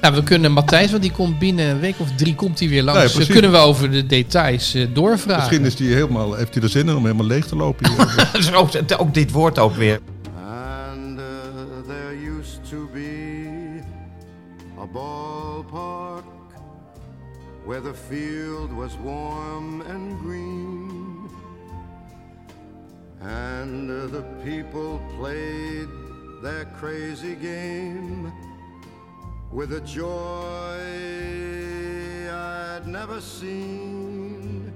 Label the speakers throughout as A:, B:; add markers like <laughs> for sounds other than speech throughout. A: Nou, we kunnen Matthijs, want die komt binnen een week of drie komt hij weer langs.
B: Nee,
A: Dan
B: precies.
A: kunnen we over de details eh, doorvragen.
B: Misschien is die helemaal, heeft hij er zin in om helemaal leeg te
A: <laughs>
B: lopen. hier.
C: Dus ook, ook dit woord ook weer.
D: And uh, there used to be a ballpark where the field was warm and green. And uh, the people played their crazy game with a joy I'd never seen.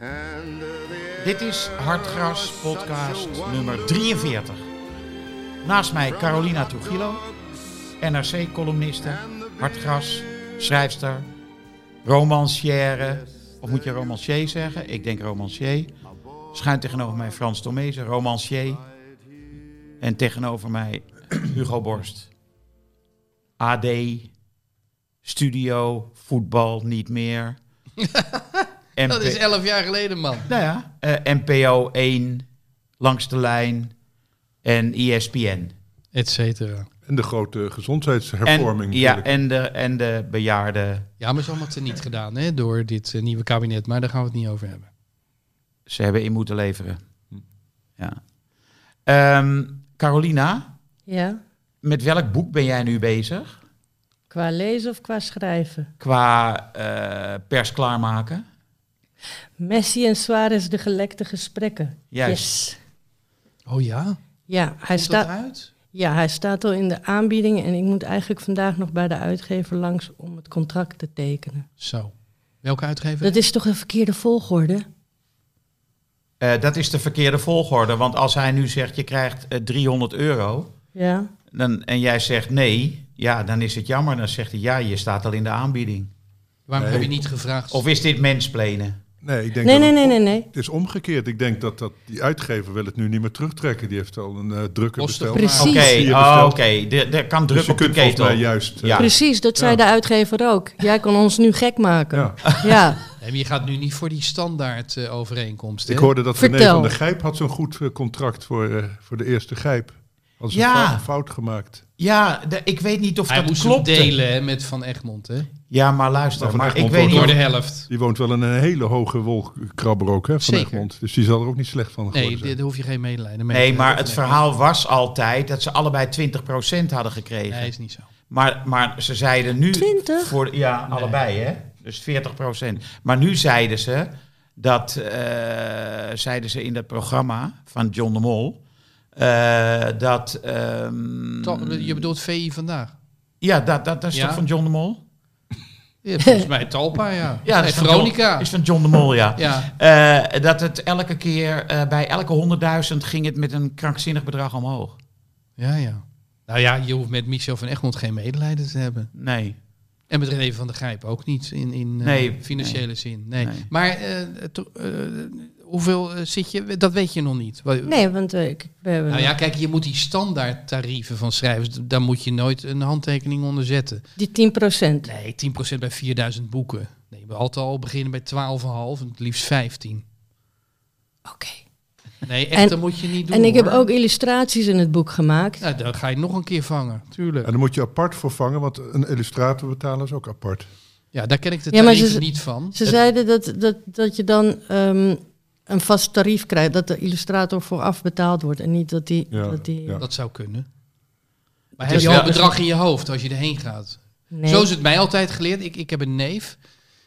D: And uh, the
C: Dit is Hartgras
D: air was such a
C: podcast nummer
D: wonderful
C: 43. Naast mij Carolina Tugilo, NRC-columniste, Hartgras, schrijfster, romancière. Of moet je romancier zeggen? Ik denk romancier. Schuin tegenover mij Frans Tomezen, romancier. En tegenover mij <clears throat> Hugo Borst. AD, studio, voetbal, niet meer.
A: <laughs> Dat is elf jaar geleden, man.
C: Nou ja, eh, NPO 1, Langs de Lijn en E ESPN.
A: Et cetera.
B: en de grote
C: En,
B: gezondheidshervorming.
C: ja,
B: natuurlijk.
C: en de, en de bejaarden.
A: Ja, maar is allemaal teniet gedaan hè, door dit eh, nieuwe kabinet. Maar daar gaan we het niet over hebben.
C: Ze hebben in moeten leveren. Ja. Ehm, Carolina,
E: Ja,
C: met welk boek ben jij nu bezig?
E: qua lezen of qua schrijven.
C: Qua eh, pers klaarmaken?
E: Messi en Suarez, de gelekte gesprekken.
C: Juist.
E: Yes.
A: Oh ja?
E: Ja, hij
A: Is dat
E: staat,
A: uit?
E: ja, hij staat al in de aanbieding en ik moet eigenlijk vandaag nog bij de uitgever langs om het contract te tekenen.
A: Zo. Welke uitgever?
E: Dat is toch een verkeerde volgorde?
C: Eh, dat is de verkeerde volgorde, want als hij nu zegt je krijgt eh, 300 euro,
E: Ja.
C: dan, en jij zegt nee, ja, dan is het jammer. Dan zegt hij ja, je staat al in de aanbieding.
A: Waarom
B: Nee.
A: heb je niet gevraagd?
C: Of is dit mensplenen?
B: Nee, ik denk
E: Nee,
B: dat
E: nee,
B: het-
E: nee, nee, nee.
B: Het is omgekeerd. Ik denk dat, dat die uitgever wil het nu niet meer terugtrekken. Die heeft al een eh, drukke
A: Kosten
B: bestel.
E: Precies.
C: Oké,
B: Vier
C: oh,
B: besteld.
C: oké. Er er kan druk
B: Dus je
C: op de
B: kunt volgens
C: ketel.
B: mij juist... eh,
C: Ja.
E: Precies, dat zei
B: Ja.
E: de uitgever ook. Jij kan ons nu gek
B: <laughs>
E: maken.
B: ja.
E: Ja.
A: Nee, maar je gaat nu niet voor die standaard eh, overeenkomst.
B: Ik
A: hè?
B: hoorde dat René
E: Vertel.
B: van der Gijp had zo'n goed eh, contract voor, eh, voor de eerste Gijp. Had ze
C: Ja.
B: een fout- fout gemaakt.
C: Ja, de- ik weet niet of
A: Hij
C: dat
A: moest
C: klopt.
A: hem delen hè, met Van Egmond, hè?
C: Ja, maar luister,
B: Maar
C: maar,
B: Van
C: ik
B: Egmond
C: weet niet.
A: Door
B: wordt
A: de
C: of-
A: helft.
B: Die woont wel in een hele hoge wolkrabber ook, hè, van
A: Zeker.
B: Egmond. Dus die zal er ook niet slecht van geworden
A: Nee, daar
B: zijn.
A: hoef je geen medelijden mee te
C: Nee, maar
A: hebben.
C: het verhaal was altijd dat ze allebei 20% hadden gekregen.
A: Nee, is niet zo.
C: Maar, maar ze zeiden nu.
E: 20?
C: Voor, ja, allebei hè. Dus 40%. Maar nu zeiden ze dat. eh, zeiden ze in dat programma van John de Mol. eh, dat. ehm,
A: Toch, Je bedoelt VI vandaag?
C: ja, dat, dat, dat is
A: Ja.
C: toch van John de Mol?
A: Ja, volgens mij Talpa, ja.
C: <laughs> Ja, dat
A: nee,
C: is van John-
A: Veronica.
C: is van John de Mol, ja.
A: Ja,
C: Eh, dat het elke keer, eh, bij elke 100.000 ging het met een krankzinnig bedrag omhoog.
A: ja, ja. Nou ja, je hoeft met Michel van Egmond geen medelijden te hebben.
C: Nee.
A: En met René van der Grijp ook niet in, in eh,
C: Nee,
A: financiële zin. Nee.
C: Nee.
A: Maar eh, to- eh, hoeveel eh, zit je? Dat weet je nog niet. Wa-
E: Nee, want eh, ik, we hebben...
A: Nou ja, kijk, je moet die standaard tarieven van schrijvers, d- daar moet je nooit een handtekening onder zetten.
E: Die 10%.
A: Nee, 10% bij 4000 boeken. Nee, we altijd al beginnen bij 12,5 en het liefst 15.
E: Oké.
A: Nee, echt,
E: En-
A: dat moet je niet doen.
E: En ik heb
A: hoor.
E: ook illustraties in het boek gemaakt.
A: Nou, dan ga je nog een keer vangen, tuurlijk.
B: En dan moet je apart voor vangen, want een illustrator betalen is ook apart.
A: Ja, daar ken ik de
E: Ja, maar
A: tarieven
E: ze-
A: niet van.
E: Ze zeiden dat, dat, dat je dan ehm, een vast tarief krijgt, dat de illustrator vooraf betaald wordt en niet dat die.
B: Ja,
E: dat die
B: ja.
A: Dat zou kunnen. Maar
C: Het
A: heb
C: is
A: je al een
C: Dus wel-
A: bedrag in je hoofd als je erheen gaat?
E: Nee.
A: Zo is het mij altijd geleerd. Ik, ik heb een neef,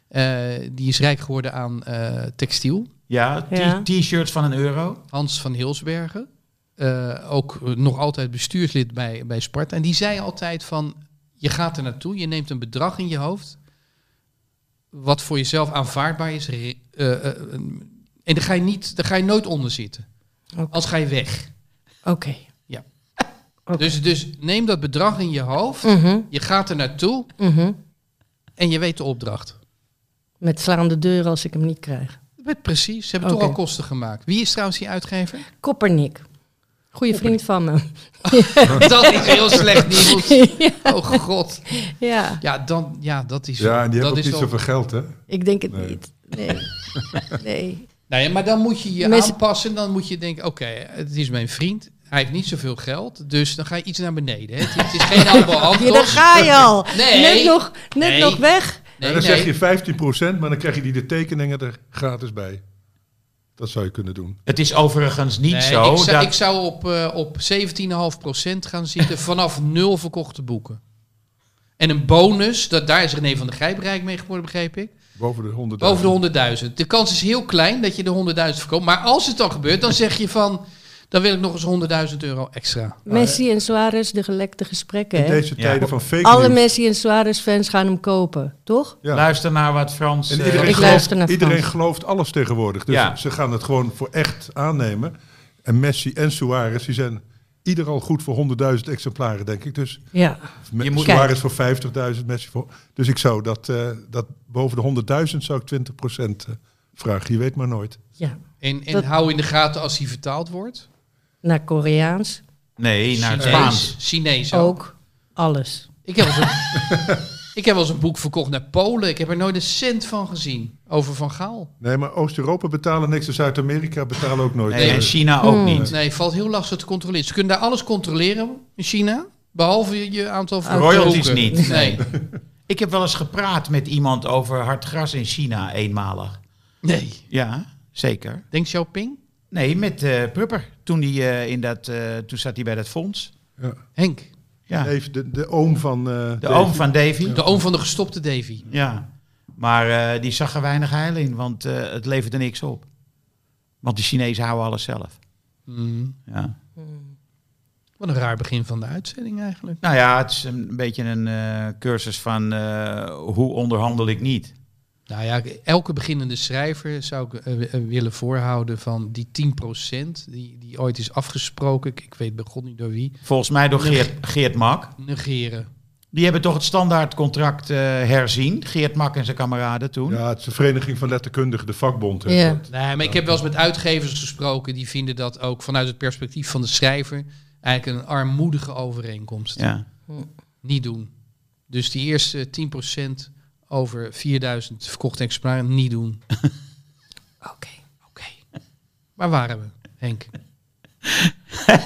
A: eh, die is rijk geworden aan eh, textiel.
C: Ja, t-
E: Ja.
C: t-shirts van een euro.
A: Hans van Hilsbergen. eh, ook eh, nog altijd bestuurslid bij, bij Sparta. En die zei altijd van, je gaat er naartoe, je neemt een bedrag in je hoofd. Wat voor jezelf aanvaardbaar is. re- eh, eh, eh, en daar ga, je niet, daar ga je nooit onder zitten.
E: Oké.
A: Als ga je weg.
E: Oké. Oké.
A: Dus, dus neem dat bedrag in je hoofd.
E: Mhm,
A: Je gaat er naartoe
E: mhm.
A: en je weet de opdracht.
E: Met slaande deuren als ik hem niet krijg.
A: Met precies, ze hebben
E: Oké.
A: toch al kosten gemaakt. Wie is trouwens die
B: <laughs>
A: uitgever?
E: Koppernik. Goeie vriend van me.
A: dat is heel slecht nieuws.
E: <laughs>
A: Oh god.
E: Ja,
A: Ja, dan, ja dat is...
B: Ja, en die
A: dat
B: hebben ook
A: is
B: niet
A: wel-
B: zoveel geld, hè?
E: ik denk het
B: Nee.
E: niet.
B: <laughs>
E: Nee. nee.
A: Nou ja, maar dan moet je je
E: Mensen-
A: aanpassen. Dan moet je denken, oké, het is mijn vriend. hij heeft niet zoveel geld, dus dan ga je iets naar beneden. Hè. Het, het is
E: <laughs>
A: geen Albo
E: Ja, daar
A: Antos.
E: ga je al.
A: <laughs> Nee.
E: Net, nog, net
A: Nee.
E: nog weg.
A: Nee,
B: dan
A: nee.
B: zeg je 15%, maar dan krijg je die de tekeningen er gratis bij. Dat zou je kunnen doen.
C: Het is overigens niet
A: Nee,
C: zo
A: ik, zou,
C: dat...
A: ik zou op, eh, op 17,5% gaan zitten vanaf nul verkochte boeken. En een bonus, dat, daar is René van der Grijp rijk mee geworden, begreep ik.
B: Boven de 100.000.
A: Boven de 100.000. De kans is heel klein dat je de 100.000 verkoopt. Maar als het dan gebeurt, dan zeg je van... dan wil ik nog eens 100.000 euro extra.
E: Messi en Suarez, de gelekte gesprekken.
B: In
E: Hè?
B: deze
C: Ja.
B: tijden van fake
E: Alle
B: news.
E: Messi en Suarez fans gaan hem kopen, toch?
B: Ja.
C: Luister naar wat Frans...
B: En
C: eh,
B: iedereen,
E: Ik
B: gelooft,
E: luister naar Frans.
B: iedereen gelooft alles tegenwoordig. Dus
C: Ja.
B: ze gaan het gewoon voor echt aannemen. En Messi en Suarez, die zijn ieder al goed voor 100.000 exemplaren, denk ik. Dus
E: Ja.
B: Me-
C: Je moet-
B: Suarez voor 50.000, Messi voor... Dus ik zou dat, eh, dat boven de 100.000 zou ik 20% eh, vragen. Je weet maar nooit.
E: ja.
A: En, en
E: Dat-
A: hou in de gaten als hij vertaald wordt.
E: Naar Koreaans
C: Nee, naar het
A: Chinees.
C: Spaans.
A: Chinees
E: ook. Alles.
A: Ik heb, wel eens een, <laughs> ik heb wel eens een boek verkocht naar Polen. Ik heb er nooit een cent van gezien. Over Van Gaal.
B: Nee, maar Oost-Europa betalen niks en Zuid-Amerika betalen ook nooit.
C: Nee,
B: Eh,
C: en China ook
E: Hmm.
C: niet.
A: Nee, valt heel lastig te controleren. Ze kunnen daar alles controleren in China. Behalve je, je aantal verkochte
C: Royalties
A: boeken.
C: niet, nee.
A: Nee.
C: Ik heb wel eens gepraat met iemand over hard gras in China, eenmalig.
A: nee.
C: Ja, zeker.
A: Deng Xiaoping?
C: Nee, met eh, Prupper. Toen, die, eh, in dat, eh, toen zat hij bij dat fonds.
A: Henk.
C: Ja,
B: neef, de, de oom van... eh,
C: de
B: Davy.
C: oom van Davy.
A: De oom van de gestopte Davy.
C: Ja, maar eh, die zag er weinig heil in, want eh, het leverde niks op. Want de Chinezen houden alles zelf.
A: Mm.
C: Ja.
A: Wat een raar begin van de uitzending eigenlijk.
C: Nou ja, het is een beetje een eh, cursus van eh, hoe onderhandel ik niet.
A: Nou ja, elke beginnende schrijver zou ik eh, w- eh, willen voorhouden van die 10% die, die ooit is afgesproken. Ik, ik weet bij God niet door wie.
C: Volgens mij door
A: Nee.
C: Geert, Geert Mak.
A: Negeren.
C: Die hebben toch het standaardcontract eh, herzien. Geert Mak en zijn kameraden toen.
B: Ja, het is de Vereniging van Letterkundigen, de vakbond. hè.
E: Ja.
A: Nee, maar ik heb wel eens met uitgevers gesproken. Die vinden dat ook vanuit het perspectief van de schrijver eigenlijk een armoedige overeenkomst.
C: Ja.
A: Niet doen. Dus die eerste 10% over 4000 verkochte exemplaren niet doen.
E: Oké.
A: Oké. Waar waren we, Henk?
C: Hé,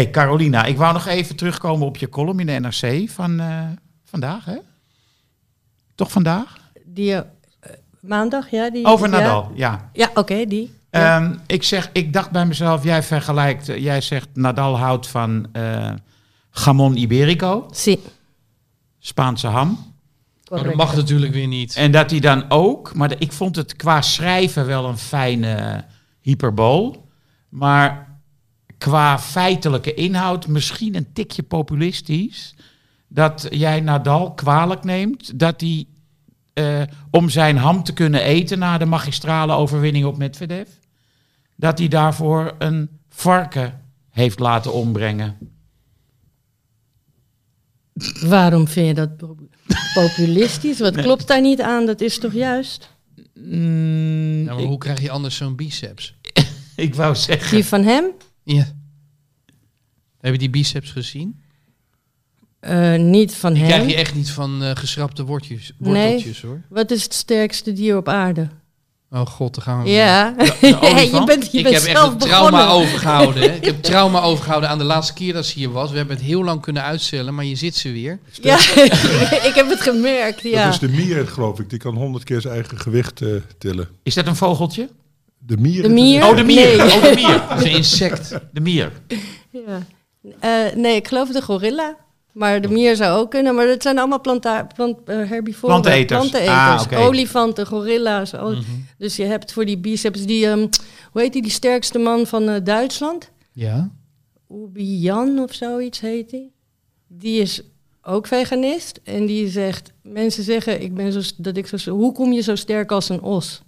C: hey, Carolina, ik wou nog even terugkomen op je column in de NRC van eh, vandaag, hè? Toch vandaag?
E: Die eh, maandag, ja? Die,
C: Over
E: ja?
C: Nadal, ja.
E: Ja, oké, die. Ja.
C: Ehm, ik, zeg, ik dacht bij mezelf, jij vergelijkt, eh, jij zegt Nadal houdt van eh jamon iberico,
E: Zie,
C: Spaanse ham.
A: Maar dat
E: correct.
A: mag natuurlijk weer niet.
C: En dat hij dan ook, maar de- ik vond het qua schrijven wel een fijne hyperbool. Maar qua feitelijke inhoud misschien een tikje populistisch. Dat jij Nadal kwalijk neemt dat hij, eh, om zijn ham te kunnen eten na de magistrale overwinning op Medvedev, dat hij daarvoor een varken heeft laten ombrengen.
E: Waarom vind je dat pro- populistisch? Wat klopt daar niet aan? Dat is toch juist?
C: Mm,
A: Ja, maar
C: ik,
A: hoe krijg je anders zo'n biceps?
C: ik wou zeggen.
E: Die van hem?
A: Ja. Heb je die biceps gezien?
E: Eh, niet van
A: Die
E: hem.
A: krijg je echt niet van eh, geschrapte worteltjes, worteltjes hoor.
E: Wat is het sterkste dier op aarde?
A: Oh god, daar gaan we.
E: <laughs> Ja, je
C: olifant?
E: bent, je
A: ik
E: bent
A: heb echt
E: zelf
A: een trauma
E: begonnen.
A: overgehouden.
E: <laughs>
A: Hè. Ik heb trauma overgehouden aan de laatste keer dat ze hier was. We hebben het heel lang kunnen uitstellen, maar je zit ze weer.
E: Ja, <laughs> ik heb het gemerkt, ja.
B: Dat is de mier, geloof ik. Die kan 100 keer zijn eigen gewicht eh, tillen.
C: Is dat een vogeltje?
B: De mier?
E: De mier?
C: Oh, de mier.
E: Nee. <laughs>
C: Oh, de mier.
A: Dat is een insect.
C: De mier.
E: Ja. Eh, nee, ik geloof de gorilla. Maar de mier zou ook kunnen. Maar dat zijn allemaal planta plant, eh, herbivoren.
C: Planteneters. Ah, oké.
E: Olifanten, gorilla's.
A: Mhm.
E: ol- Dus je hebt voor die biceps die... ehm, hoe heet die, die sterkste man van eh, Duitsland?
A: Ja.
E: Ubi Jan of zoiets heet die. Die is ook veganist. En die zegt... Mensen zeggen, ik ben zo, s- dat ik zo, s- hoe kom je zo sterk als een os?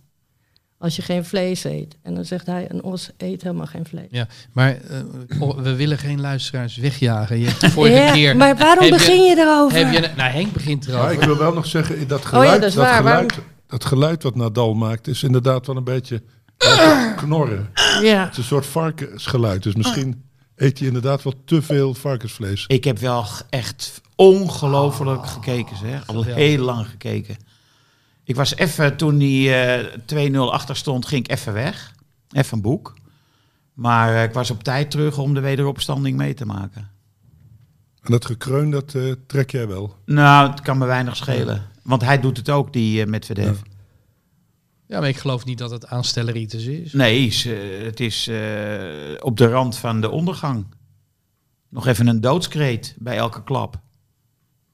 E: Als je geen vlees eet. En dan zegt hij, een os eet helemaal geen vlees.
A: ja. Maar eh, oh, we willen geen luisteraars wegjagen. Je hebt de vorige
E: Ja,
A: keer.
E: Maar waarom
A: heb je-
E: begin je erover?
A: Heb je, nou, Henk begint
B: Maar
A: erover.
B: ik wil wel nog zeggen, eh, dat
E: Oh ja,
B: geluid,
E: dat
B: dat,
E: is waar.
B: geluid, dat geluid wat Nadal maakt, is inderdaad wel een beetje eh, knorren. Het
E: Ja.
B: is een soort varkensgeluid. Dus misschien
E: Ah.
B: eet hij inderdaad wel te veel varkensvlees.
C: Ik heb wel g- echt ongelooflijk gekeken, zeg. Al
A: geweldig.
C: heel lang gekeken. Ik was even, toen die eh 2-0 achter stond, ging ik even weg. Even een boek. Maar eh, ik was op tijd terug om de wederopstanding mee te maken.
B: En dat gekreun, dat eh, trek jij wel.
C: Nou, het kan me weinig schelen. Want hij doet het ook, die eh, met Medvedev.
A: Ja, maar ik geloof niet dat het aanstelleritis is.
C: Nee, ze- het is eh, op de rand van de ondergang. Nog even een doodskreet bij elke klap.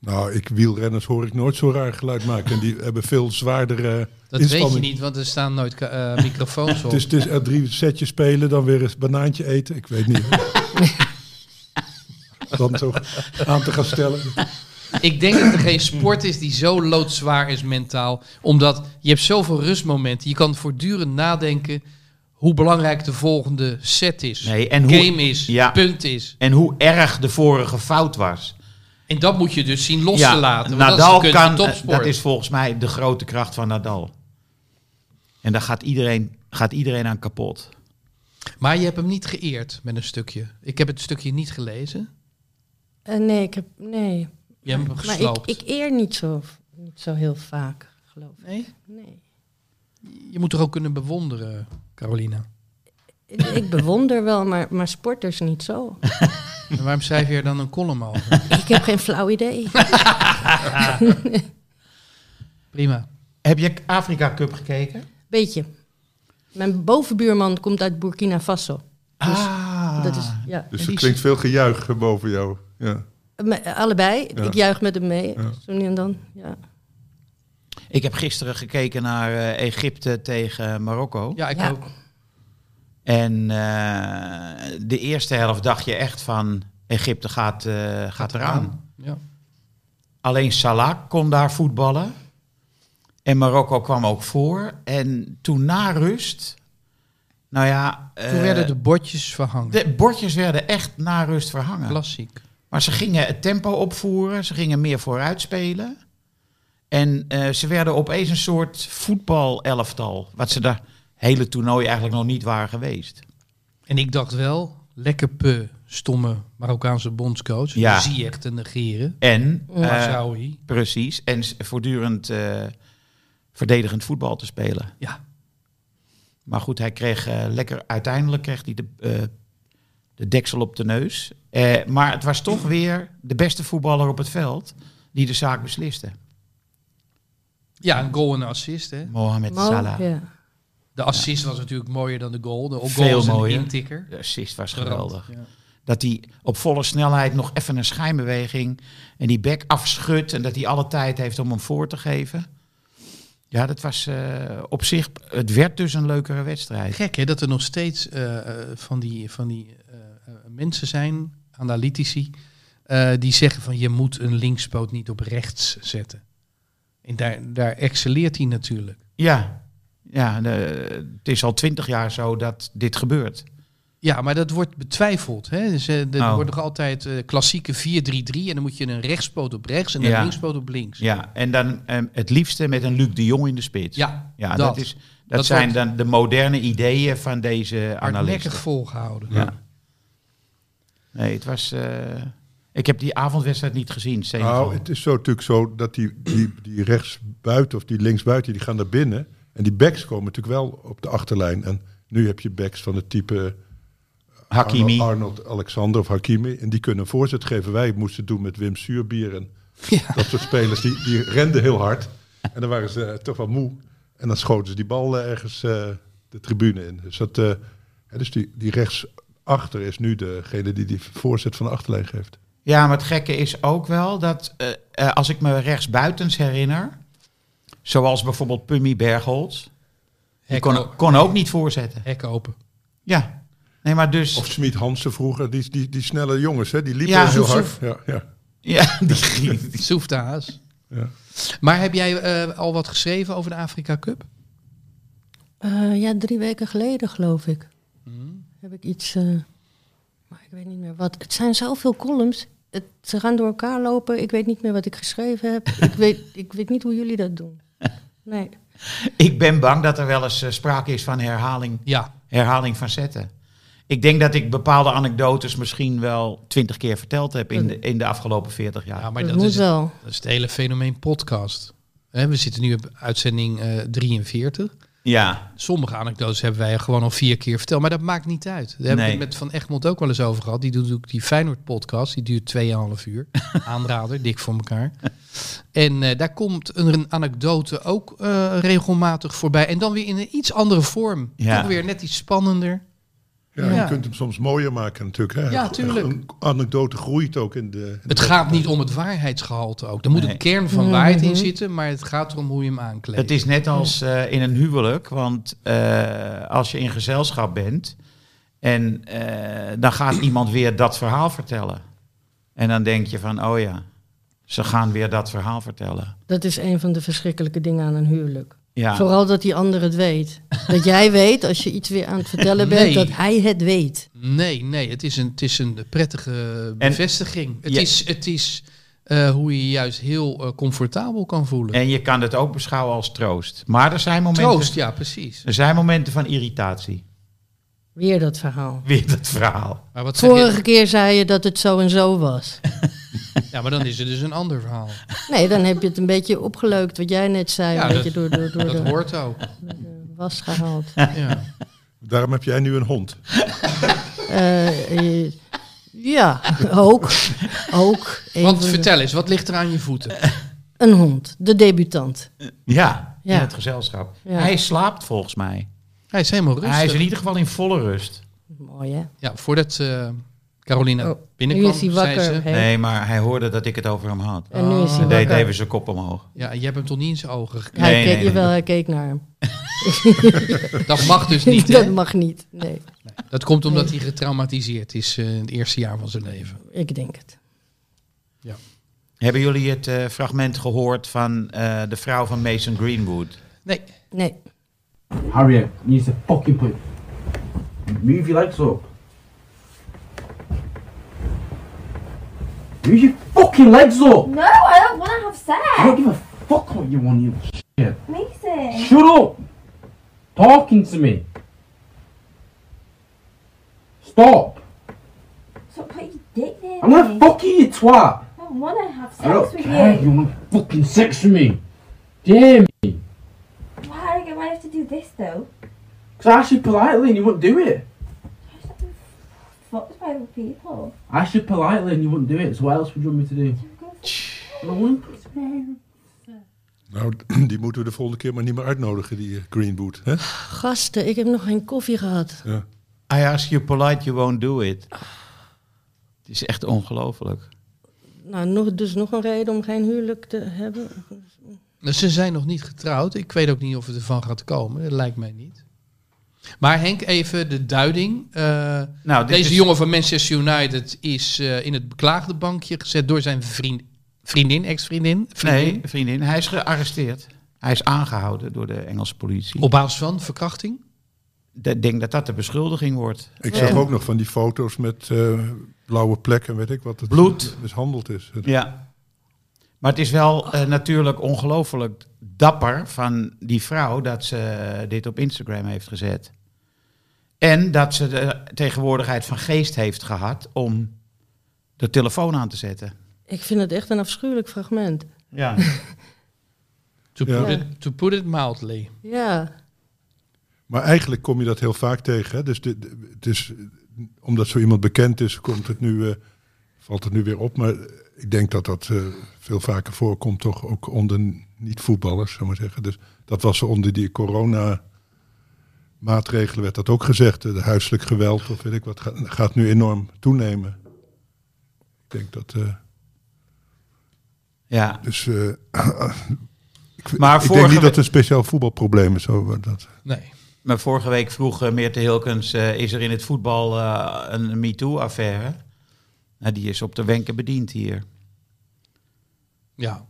B: Nou, ik wielrenners hoor ik nooit zo raar geluid maken. En die <laughs> hebben veel zwaardere
A: Dat
B: inspanning.
A: weet je niet, want er staan nooit ka-
B: <laughs>
A: eh, microfoons op.
B: Het is, het is er drie setjes spelen, dan weer een banaantje eten. Ik weet niet. dan zo aan te gaan stellen.
A: Ik denk dat er geen sport is die zo loodzwaar is mentaal. Omdat je hebt zoveel rustmomenten. Je kan voortdurend nadenken hoe belangrijk de volgende set is.
C: Nee, en hoe-
A: game is,
C: ja.
A: punt is.
C: En hoe erg de vorige fout was.
A: En dat moet je dus zien los te laten. Want
C: Nadal
A: dat is de kunst
C: kan,
A: van topsport.
C: dat is volgens mij de grote kracht van Nadal. En daar gaat iedereen, gaat iedereen aan kapot.
A: Maar je hebt hem niet geëerd met een stukje. Ik heb het stukje niet gelezen.
E: Eh, nee, ik heb... Nee.
A: Je hebt hem
E: Maar
A: gesloopt.
E: ik, ik eer niet zo, niet zo heel vaak, geloof ik.
A: Nee?
E: Nee.
A: Je moet toch ook kunnen bewonderen, Carolina.
E: Ik- Ik bewonder wel, maar, maar sporters niet zo.
A: En waarom schrijf je er dan een column <laughs> over?
E: Ik heb geen flauw idee.
A: Prima.
C: Heb je Afrika Cup gekeken?
E: Beetje. Mijn bovenbuurman komt uit Burkina Faso.
C: ah,
E: Dat is, ja.
B: Dus
C: En
B: er
C: die-
B: klinkt veel gejuich eh, boven jou. Ja.
E: Me- allebei.
B: Ja.
E: Ik juich met hem mee.
B: Ja.
E: Zo nu en dan. Ja.
C: Ik heb gisteren gekeken naar eh, Egypte tegen Marokko.
A: Ja, ik
E: Ja.
A: ook.
C: En eh, de eerste helft dacht je echt van Egypte gaat, eh, gaat eraan.
A: Ja.
C: Alleen Salah kon daar voetballen. En Marokko kwam ook voor. En toen na rust, nou ja, eh,
A: Toen werden de bordjes verhangen.
C: de bordjes werden echt na rust verhangen.
A: Klassiek.
C: Maar ze gingen het tempo opvoeren, ze gingen meer vooruit spelen. En eh, ze werden opeens een soort voetbalelftal. Wat ze daar hele toernooi eigenlijk nog niet waren geweest.
A: En ik dacht wel, lekker pe, stomme Marokkaanse bondscoach.
C: Ja.
A: Die zie echt te negeren.
C: En,
A: Maar
C: eh,
A: zou hij?
C: precies, en s- voortdurend eh, verdedigend voetbal te spelen.
A: Ja.
C: Maar goed, hij kreeg eh, lekker, uiteindelijk kreeg hij de, eh, de deksel op de neus. Eh, maar het was toch weer de beste voetballer op het veld die de zaak besliste.
A: Ja, een goal en een assist. Hè.
C: Mohamed
E: Mo,
C: Salah.
E: ja.
A: De assist was natuurlijk mooier dan de goal. De goal
C: Veel
A: was een
C: mooier.
A: intikker.
C: De assist was
A: Gerand,
C: geweldig.
A: ja.
C: Dat hij op volle snelheid nog even een schijnbeweging en die bek afschudt en dat hij alle tijd heeft om hem voor te geven. Ja, dat was eh, op zich, het werd dus een leukere wedstrijd.
A: Gek hè, dat er nog steeds eh, eh, van die, van die eh, eh, mensen zijn, analytici, eh, die zeggen van je moet een linkspoot niet op rechts zetten. En daar, daar excelleert hij natuurlijk.
C: Ja, ja de- het is al twintig jaar zo dat dit gebeurt.
A: Ja, maar dat wordt betwijfeld. Hè? Dus, eh, er
C: Oh.
A: wordt nog altijd eh, klassieke 4-3-3 en dan moet je een rechtspoot op rechts en
C: Ja.
A: een linkspoot op links.
C: Ja, en dan eh, het liefste met een Luc de Jong in de spits.
A: Ja,
C: ja dat,
A: dat.
C: is, dat,
A: Dat
C: zijn
A: wordt-
C: dan de moderne ideeën van deze analisten.
A: hardnekkig volgehouden.
C: Ja. Nee, het was. eh, ik heb die avondwedstrijd niet gezien. Senegal.
B: Nou, het is zo natuurlijk zo dat die, die, die rechtsbuiten of die linksbuiten, die gaan naar binnen. En die backs komen natuurlijk wel op de achterlijn. En nu heb je backs van het type
C: Hakimi.
B: Arnold, Arnold Alexander of Hakimi. En die kunnen een voorzet geven. Wij moesten het doen met Wim Suurbier
A: <laughs>
B: en dat soort spelers. Die, die renden heel hard. En dan waren ze eh, toch wel moe. En dan schoten ze die bal eh, ergens eh, de tribune in. Dus, dat, eh, hè, dus die, die rechtsachter is nu degene die die voorzet van de achterlijn geeft.
C: Ja, maar het gekke is ook wel dat eh, eh, als ik me rechtsbuitens herinner, zoals bijvoorbeeld Pummy Bergholz, die
A: Hek,
C: kon,
A: o-
C: kon ook niet voorzetten.
A: hek
C: <laughs>
A: open.
C: Ja, nee, maar dus
B: Of Smit Hansen vroeger, die, die, die snelle jongens, hè, die liepen
C: Ja,
B: heel
C: Soef,
B: hard.
C: Soef.
B: Ja, ja.
C: <laughs> ja, die,
A: Soefdaas.
B: Ja.
A: Maar heb jij eh, al wat geschreven over de Afrika Cup?
E: Eh, ja, drie weken geleden geloof ik.
A: Hmm?
E: Heb ik iets... eh, maar ik weet niet meer wat. Het zijn zoveel columns. Het, ze gaan door elkaar lopen. Ik weet niet meer wat ik
A: <laughs>
E: geschreven heb. ik, weet, ik weet niet hoe jullie dat doen. Nee.
C: ik ben bang dat er wel eens eh, sprake is van herhaling,
A: Ja,
C: herhaling van zetten. Ik denk dat ik bepaalde anekdotes misschien wel twintig keer verteld heb in de, in de afgelopen veertig jaar.
A: ja <laughs> nou, maar
E: Dat,
A: dat,
E: moet
A: is, het-
E: wel.
A: dat is het hele fenomeen podcast. Hè, we zitten nu op uitzending eh, 43.
C: Ja,
A: Sommige anekdotes hebben wij gewoon al vier keer verteld, maar dat maakt niet uit. Daar hebben we
C: Nee.
A: het met Van Egmond ook wel eens over gehad. Die doet ook die Feyenoord-podcast, die duurt 2,5
C: <laughs>
A: uur. Aanrader, dik voor elkaar. En eh, daar komt een anekdote ook eh, regelmatig voorbij. En dan weer in een iets andere vorm.
C: Ja.
A: Toch weer net iets spannender.
B: Ja,
A: Ja.
B: Je kunt hem soms mooier maken natuurlijk. Hè.
A: Ja, tuurlijk.
B: Een anekdote groeit ook in de... in
A: Het
B: de-
A: gaat niet om het waarheidsgehalte ook. Er moet
C: Nee.
A: een kern van waarheid in zitten, maar het gaat erom hoe je hem aankleedt.
C: het is net als eh, in een huwelijk. Want eh, als je in gezelschap bent en eh, dan gaat iemand weer dat verhaal vertellen. En dan denk je van, oh ja, ze gaan weer dat verhaal vertellen.
E: Dat is een van de verschrikkelijke dingen aan een huwelijk.
C: Ja,
E: Vooral dat die ander het
A: <laughs>
E: weet. Dat jij weet, als je iets weer aan het vertellen bent,
A: Nee.
E: dat hij het weet.
A: Nee, nee, het is een, het is een prettige bevestiging. het
C: Ja.
A: is, het is eh, hoe je je juist heel eh, comfortabel kan voelen.
C: en je kan het ook beschouwen als troost. Maar er zijn momenten,
A: Troost, ja, precies.
C: Er zijn momenten van irritatie.
E: Weer dat verhaal.
C: Weer dat verhaal.
A: Maar wat zeg
E: Vorige
A: je?
E: keer zei je dat het zo en zo was.
A: <laughs> Ja, maar dan is het dus een ander verhaal.
E: Nee, dan heb je het een beetje opgeleukt wat jij net zei.
A: Ja,
E: een
A: dat-
E: beetje door, door,
A: <laughs>
E: door
A: Dat
E: de
A: hoort
E: <laughs>
A: ook.
E: was gehaald.
A: Ja.
B: Daarom heb jij nu een hond.
E: Eh, eh, ja, ook. ook Een van
A: Want
E: de-
A: vertel eens, wat ligt er aan je voeten?
E: Een hond, de debutant.
C: Ja,
E: Ja.
C: in het gezelschap.
E: Ja.
C: Hij slaapt volgens mij.
A: Hij is helemaal rustig.
C: Hij is in ieder geval in volle rust.
E: Mooi hè?
A: Ja, voordat eh Carolina
E: Oh, nu
A: binnenkwam,
E: is hij
A: zei
E: wakker.
A: ze...
E: hè?
C: Nee, maar hij hoorde dat ik het over hem had.
E: En nu is hij
C: Hij deed
E: wakker.
C: even zijn kop omhoog.
A: Ja, je hebt hem toch niet in zijn ogen gekeken?
E: Hij
C: Nee,
E: keek,
C: nee,
E: jawel,
C: nee.
E: hij keek naar hem.
A: Dat mag
E: <laughs>
A: dus niet,
E: dat
A: hè?
E: mag niet. Nee,
A: Dat komt omdat hij getraumatiseerd is eh, in het eerste jaar van zijn leven.
E: ik denk het.
C: Hebben jullie het eh, fragment gehoord van eh, de vrouw van Mason Greenwood?
A: Nee,
E: Nee.
F: Harriet needs to fucking put. Move your legs up. Move your fucking legs up!
G: No, I don't want to have
F: I
G: sex.
F: don't give a fuck what you want, you little shit.
G: Mason.
F: Shut up! Talking to me. Stop!
G: Stop putting your dick near
F: I'm
G: me.
F: gonna fuck you, you twat!
G: I don't want to have
F: I
G: sex
F: don't
G: with
F: care. You
G: you.
F: want fucking sex with me? Damn me!
G: Why do I have to do this though?
F: Cause I asked you politely and you wouldn't do it.
G: I just have to be fucked by other people.
F: I asked you politely and you wouldn't do it, so what else would you want me to do?
G: I'm going to
F: I don't want to.
B: Nou, <clears throat> die moeten we de volgende keer maar niet meer uitnodigen, die eh, Greenwood. Hè?
E: Gasten, ik heb nog geen koffie gehad.
C: I ask you polite, you won't do it. Het is echt ongelooflijk.
E: Nou, nog, dus nog een reden om geen huwelijk te hebben.
A: Nou, Ze zijn nog niet getrouwd. Ik weet ook niet of het ervan gaat komen. Dat lijkt mij niet. Maar Henk, even de duiding. Eh,
C: Nou, dit
A: deze
C: is-
A: jongen van Manchester United is eh, in het beklaagde bankje gezet door zijn vriend, vriendin, ex-vriendin. vriendin.
C: Nee, vriendin. Hij is gearresteerd. Hij is aangehouden door de Engelse politie.
A: Op basis van verkrachting.
C: Ik denk dat dat de beschuldiging wordt.
B: Ik
C: En-
B: zag ook nog van die foto's met eh, blauwe plekken, weet ik wat. Het
C: Bloed.
B: Mishandeld is.
C: Ja. Maar het is wel eh, natuurlijk ongelooflijk dapper van die vrouw dat ze eh, dit op Instagram heeft gezet. En dat ze de tegenwoordigheid van geest heeft gehad om de telefoon aan te zetten.
E: Ik vind het echt een afschuwelijk fragment.
C: Ja.
A: To,
B: Ja.
A: put it, to put it mildly.
E: Ja,
B: Maar eigenlijk kom je dat heel vaak tegen. Hè? Dus dit, het is, omdat zo iemand bekend is, komt het nu, eh, valt het nu weer op. Maar ik denk dat dat eh, veel vaker voorkomt, toch ook onder niet-voetballers, zou maar zeggen. Dus dat was onder die corona-maatregelen, werd dat ook gezegd. eh, De huiselijk geweld of weet ik wat, gaat, gaat nu enorm toenemen. Ik denk dat. eh,
C: ja.
B: dus. eh, ik
C: Maar
B: ik denk
C: vorige
B: niet dat
C: we-
B: het een speciaal voetbalprobleem is. Hoor, dat,
A: Nee.
C: Maar vorige week vroeg eh, Meerte Hilkens, eh, is er in het voetbal eh, een MeToo-affaire? Nou, die is op de wenken bediend hier.
A: Ja.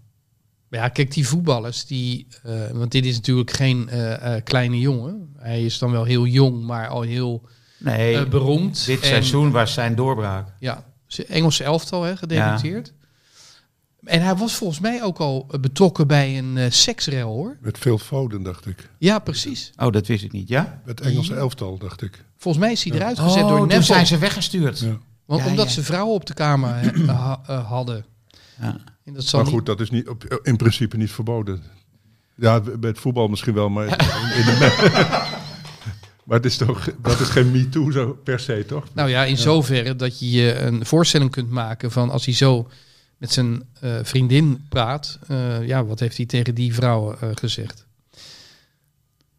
A: Maar Ja, kijk, die voetballers, die, eh, want dit is natuurlijk geen eh, eh, kleine jongen. Hij is dan wel heel jong, maar al heel
C: Nee,
A: eh, beroemd.
C: dit
A: En-
C: seizoen was zijn doorbraak.
A: Ja, ze- Engelse elftal, hè, gedebuteerd. En hij was volgens mij ook al eh, betrokken bij een eh, seksrel, hoor.
B: met veel fouten, dacht ik.
A: Ja, precies.
C: Oh, dat wist ik niet, ja?
B: Het Engelse elftal, dacht ik.
A: Volgens mij is hij eruit gezet
C: Oh,
A: door
C: toen
A: Neville.
C: zijn ze weggestuurd.
B: Ja.
A: Want
C: Ja,
A: omdat
C: ja.
A: ze vrouwen op de kamer eh, <clears throat> ha- eh, hadden.
C: Ja.
A: En dat zal
B: Maar
A: niet-
B: goed, dat is niet, op, in principe niet verboden. Ja, bij het voetbal misschien wel, maar... in- in de- <laughs> maar het is toch, dat is geen MeToo zo per se, toch?
A: Nou ja, in zoverre dat je je een voorstelling kunt maken van als hij zo met zijn eh, vriendin praat, eh, ja, wat heeft hij tegen die vrouw eh, gezegd?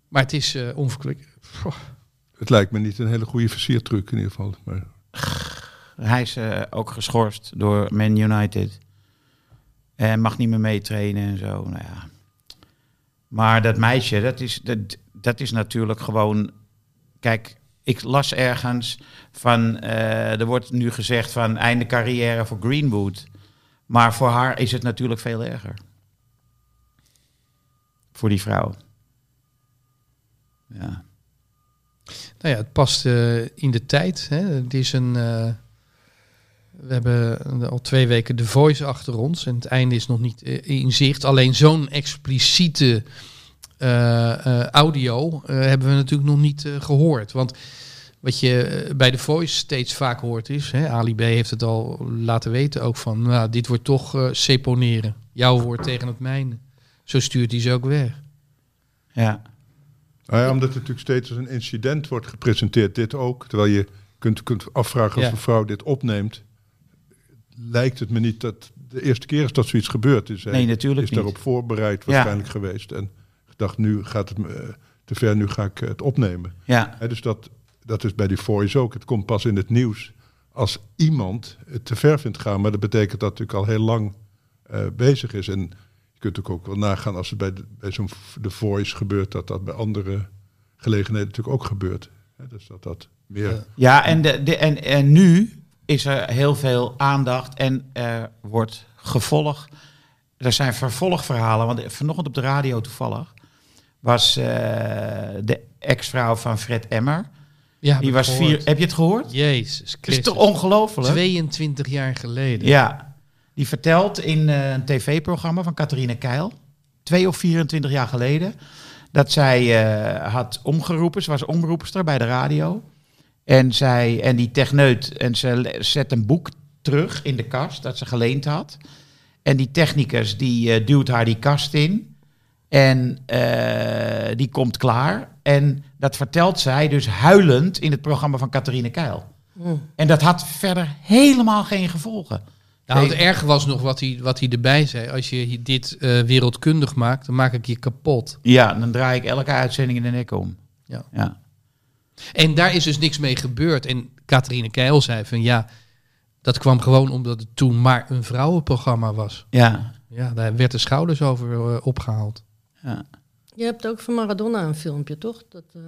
A: Maar het is eh onverklik. Pff,
B: Het lijkt me niet een hele goede versiertruc in ieder geval. Maar
C: Hij is eh, ook geschorst door Man United. En mag niet meer meetrainen en zo. Nou ja. Maar dat meisje, dat is, dat, dat is natuurlijk gewoon. Kijk, ik las ergens van. eh, er wordt nu gezegd van einde carrière voor Greenwood. Maar voor haar is het natuurlijk veel erger. Voor die vrouw. Ja.
A: Nou ja, het past eh, in de tijd. Hè. Het is een. eh, we hebben al twee weken de voice achter ons en het einde is nog niet eh, in zicht. Alleen zo'n expliciete eh, eh, audio eh, hebben we natuurlijk nog niet eh, gehoord. Want wat je eh, bij de voice steeds vaak hoort is, hè, Ali B heeft het al laten weten ook van, nou, dit wordt toch eh, seponeren. Jouw woord tegen het mijne. Zo stuurt hij ze ook weg.
C: ja.
B: Nou ja, omdat het natuurlijk steeds als een incident wordt gepresenteerd, dit ook. Terwijl je kunt, kunt afvragen als
A: Ja.
B: een vrouw dit opneemt. Lijkt het me niet dat de eerste keer is dat zoiets gebeurd is. Hij
C: Nee, natuurlijk
B: is
C: niet.
B: daarop voorbereid waarschijnlijk geweest. En gedacht, nu gaat het me, eh, te ver, nu ga ik eh, het opnemen.
C: Ja.
B: Hè, dus dat, dat is bij die Voice ook. Het komt pas in het nieuws als iemand het te ver vindt gaan. Maar dat betekent dat het natuurlijk al heel lang eh, bezig is. En je kunt natuurlijk ook wel nagaan als het bij, de- bij zo'n v- de Voice gebeurt, dat dat bij andere gelegenheden natuurlijk ook gebeurt. Hè, dus dat dat meer.
A: Ja.
C: Ja, en, de, de, en, en nu is er heel veel aandacht en er wordt gevolg. Er zijn vervolgverhalen, want vanochtend op de radio toevallig was eh, de ex-vrouw van Fred Emmer.
A: Ja, heb
C: Die
A: ik
C: was
A: gehoord.
C: vier. Heb je het gehoord?
A: Jezus
C: Het is
A: Christus.
C: toch ongelooflijk?
A: 22 jaar geleden.
C: Ja, die vertelt in eh, een tv-programma van Catharine Keil, twee of 24 jaar geleden, dat zij eh, had omgeroepen. Ze was omroepster bij de radio. En, zij, en die techneut, en ze le- zet een boek terug in de kast dat ze geleend had. En die technicus die eh, duwt haar die kast in. En eh, die komt klaar. En dat vertelt zij dus huilend in het programma van Catharine Keil. En dat had verder helemaal geen gevolgen.
A: Nou, het
C: Nee.
A: erg was nog wat hij, wat hij erbij zei. Als je hier dit eh, wereldkundig maakt, dan maak ik je kapot.
C: Ja, dan draai ik elke uitzending in de nek om.
A: Ja.
C: ja.
A: En daar is dus niks mee gebeurd. En Catharine Keil zei van ja, dat kwam gewoon omdat het toen maar een vrouwenprogramma was.
C: Ja.
A: Ja, daar werd de schouders over eh, opgehaald.
C: Ja.
E: Je hebt ook van Maradona een filmpje, toch? Dat, ehm,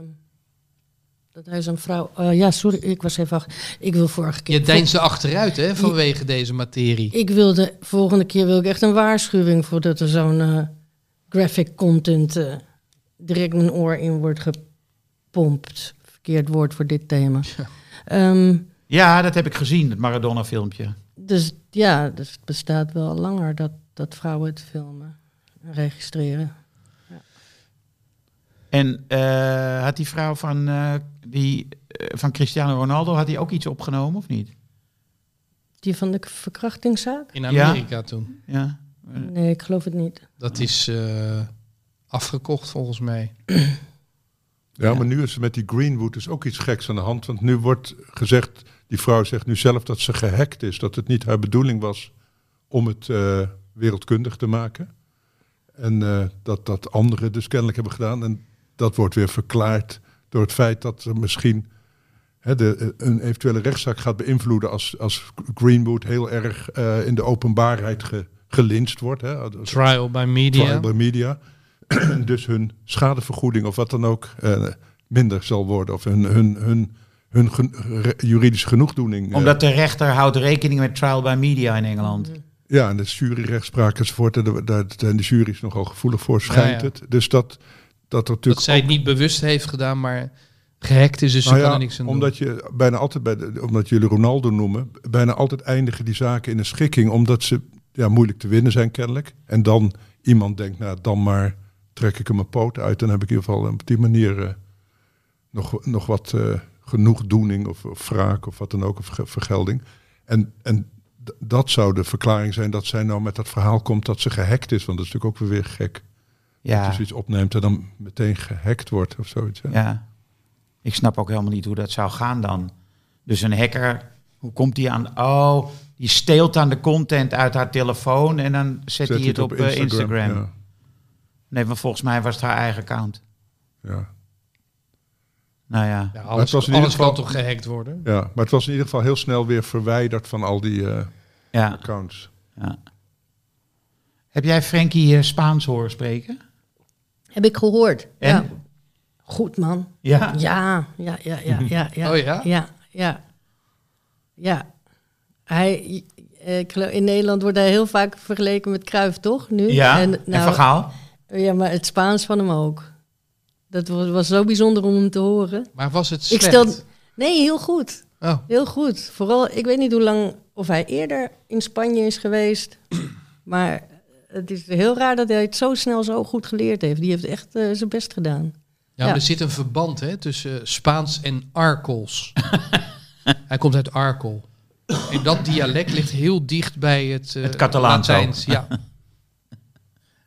E: dat hij zo'n vrouw... eh, ja, sorry, ik was even... achter- Ik wil vorige keer...
A: Je deinsde achteruit hè, vanwege deze materie.
E: Ik wilde... Volgende keer wil ik echt een waarschuwing... voordat er zo'n eh, graphic content... eh, direct mijn oor in wordt gepompt. Verkeerd woord voor dit thema. Ehm,
C: ja, dat heb ik gezien, het Maradona-filmpje.
E: dus ja, dus het bestaat wel al langer... Dat, dat vrouwen het filmen en registreren.
C: En eh, had die vrouw van, eh, die, eh, van Cristiano Ronaldo had die ook iets opgenomen, of niet?
E: Die van de verkrachtingszaak?
A: In Amerika toen.
C: Ja.
E: Nee, ik geloof het niet.
A: Dat is eh, afgekocht volgens mij.
B: Ja, maar nu is er met die Greenwood dus ook iets geks aan de hand. Want nu wordt gezegd, die vrouw zegt nu zelf dat ze gehackt is. Dat het niet haar bedoeling was om het eh, wereldkundig te maken. En eh, dat dat anderen dus kennelijk hebben gedaan. En dat wordt weer verklaard door het feit dat er misschien hè, de, eh, een eventuele rechtszaak gaat beïnvloeden als, als Greenwood heel erg eh, in de openbaarheid ge, gelinst wordt. Hè, Als-
A: Trial by media.
B: trial by media. <clears throat> En dus hun schadevergoeding of wat dan ook eh, minder zal worden. Of hun, hun, hun, hun gen- re- juridische genoegdoening. eh,
C: Omdat de rechter houdt rekening met trial by media in Engeland.
B: ja, en de juryrechtspraak enzovoort. En daar- daar zijn de jury's nogal gevoelig voor, schijnt
A: ja.
B: het. Dus dat, dat er
A: Dat
B: natuurlijk...
A: zij het niet bewust heeft gedaan, maar gehackt is, dus
B: Nou
A: ze
B: ja,
A: kan er niks aan doen.
B: omdat je bijna altijd, bij de- omdat jullie Ronaldo noemen, bijna altijd eindigen die zaken in een schikking, omdat ze ja, moeilijk te winnen zijn kennelijk. En dan iemand denkt, nou dan maar trek ik hem mijn poot uit, dan heb ik in ieder geval op die manier eh, nog, nog wat eh, genoegdoening of, of wraak of wat dan ook, of ge- vergelding. En, en d- dat zou de verklaring zijn dat zij nou met dat verhaal komt dat ze gehackt is, want dat is natuurlijk ook weer gek. Dat
C: Ja,
B: je zoiets opneemt en dan meteen gehackt wordt of zoiets. hè?
C: ja. Ik snap ook helemaal niet hoe dat zou gaan dan. Dus een hacker, hoe komt die aan? Oh, die steelt aan de content uit haar telefoon en dan zet, hij
B: je
C: het op, eh, Instagram.
B: Ja.
C: Nee, maar volgens mij was het haar eigen account.
B: Ja.
C: Nou ja.
A: Ja,
B: het
A: alles
B: was in ieder
A: alles kan
B: geval-
A: toch gehackt worden?
B: ja, maar het was in ieder geval heel snel weer verwijderd van al die eh,
C: ja.
B: accounts.
C: Heb jij Frankie eh, Spaans horen spreken?
E: Heb ik gehoord.
C: En?
E: Ja. Goed man.
C: Ja.
E: Ja, ja, ja, ja,
C: Mhm.
E: ja. ja.
A: Oh ja?
E: Ja, ja. Ja. Hij, eh, ik geloof- in Nederland wordt hij heel vaak vergeleken met Kruif, toch? Nu?
C: Ja, en,
E: nou,
C: Vergaal?
E: ja, maar het Spaans van hem ook. Dat was, was zo bijzonder om hem te horen.
A: Maar was het slecht?
E: Ik stel... Nee, heel goed.
A: Oh,
E: Heel goed. Vooral, ik weet niet hoe lang of hij eerder in Spanje is geweest. maar het is heel raar dat hij het zo snel zo goed geleerd heeft. Die heeft echt eh, zijn best gedaan.
A: ja, maar
E: Ja.
A: er zit een verband hè, tussen eh, Spaans en
E: <laughs>
A: Arkels. Hij komt uit Arkel. En dat dialect ligt heel dicht bij het, eh
C: Het Catalaans ook.
A: Latijns.
B: <laughs>
A: Ja.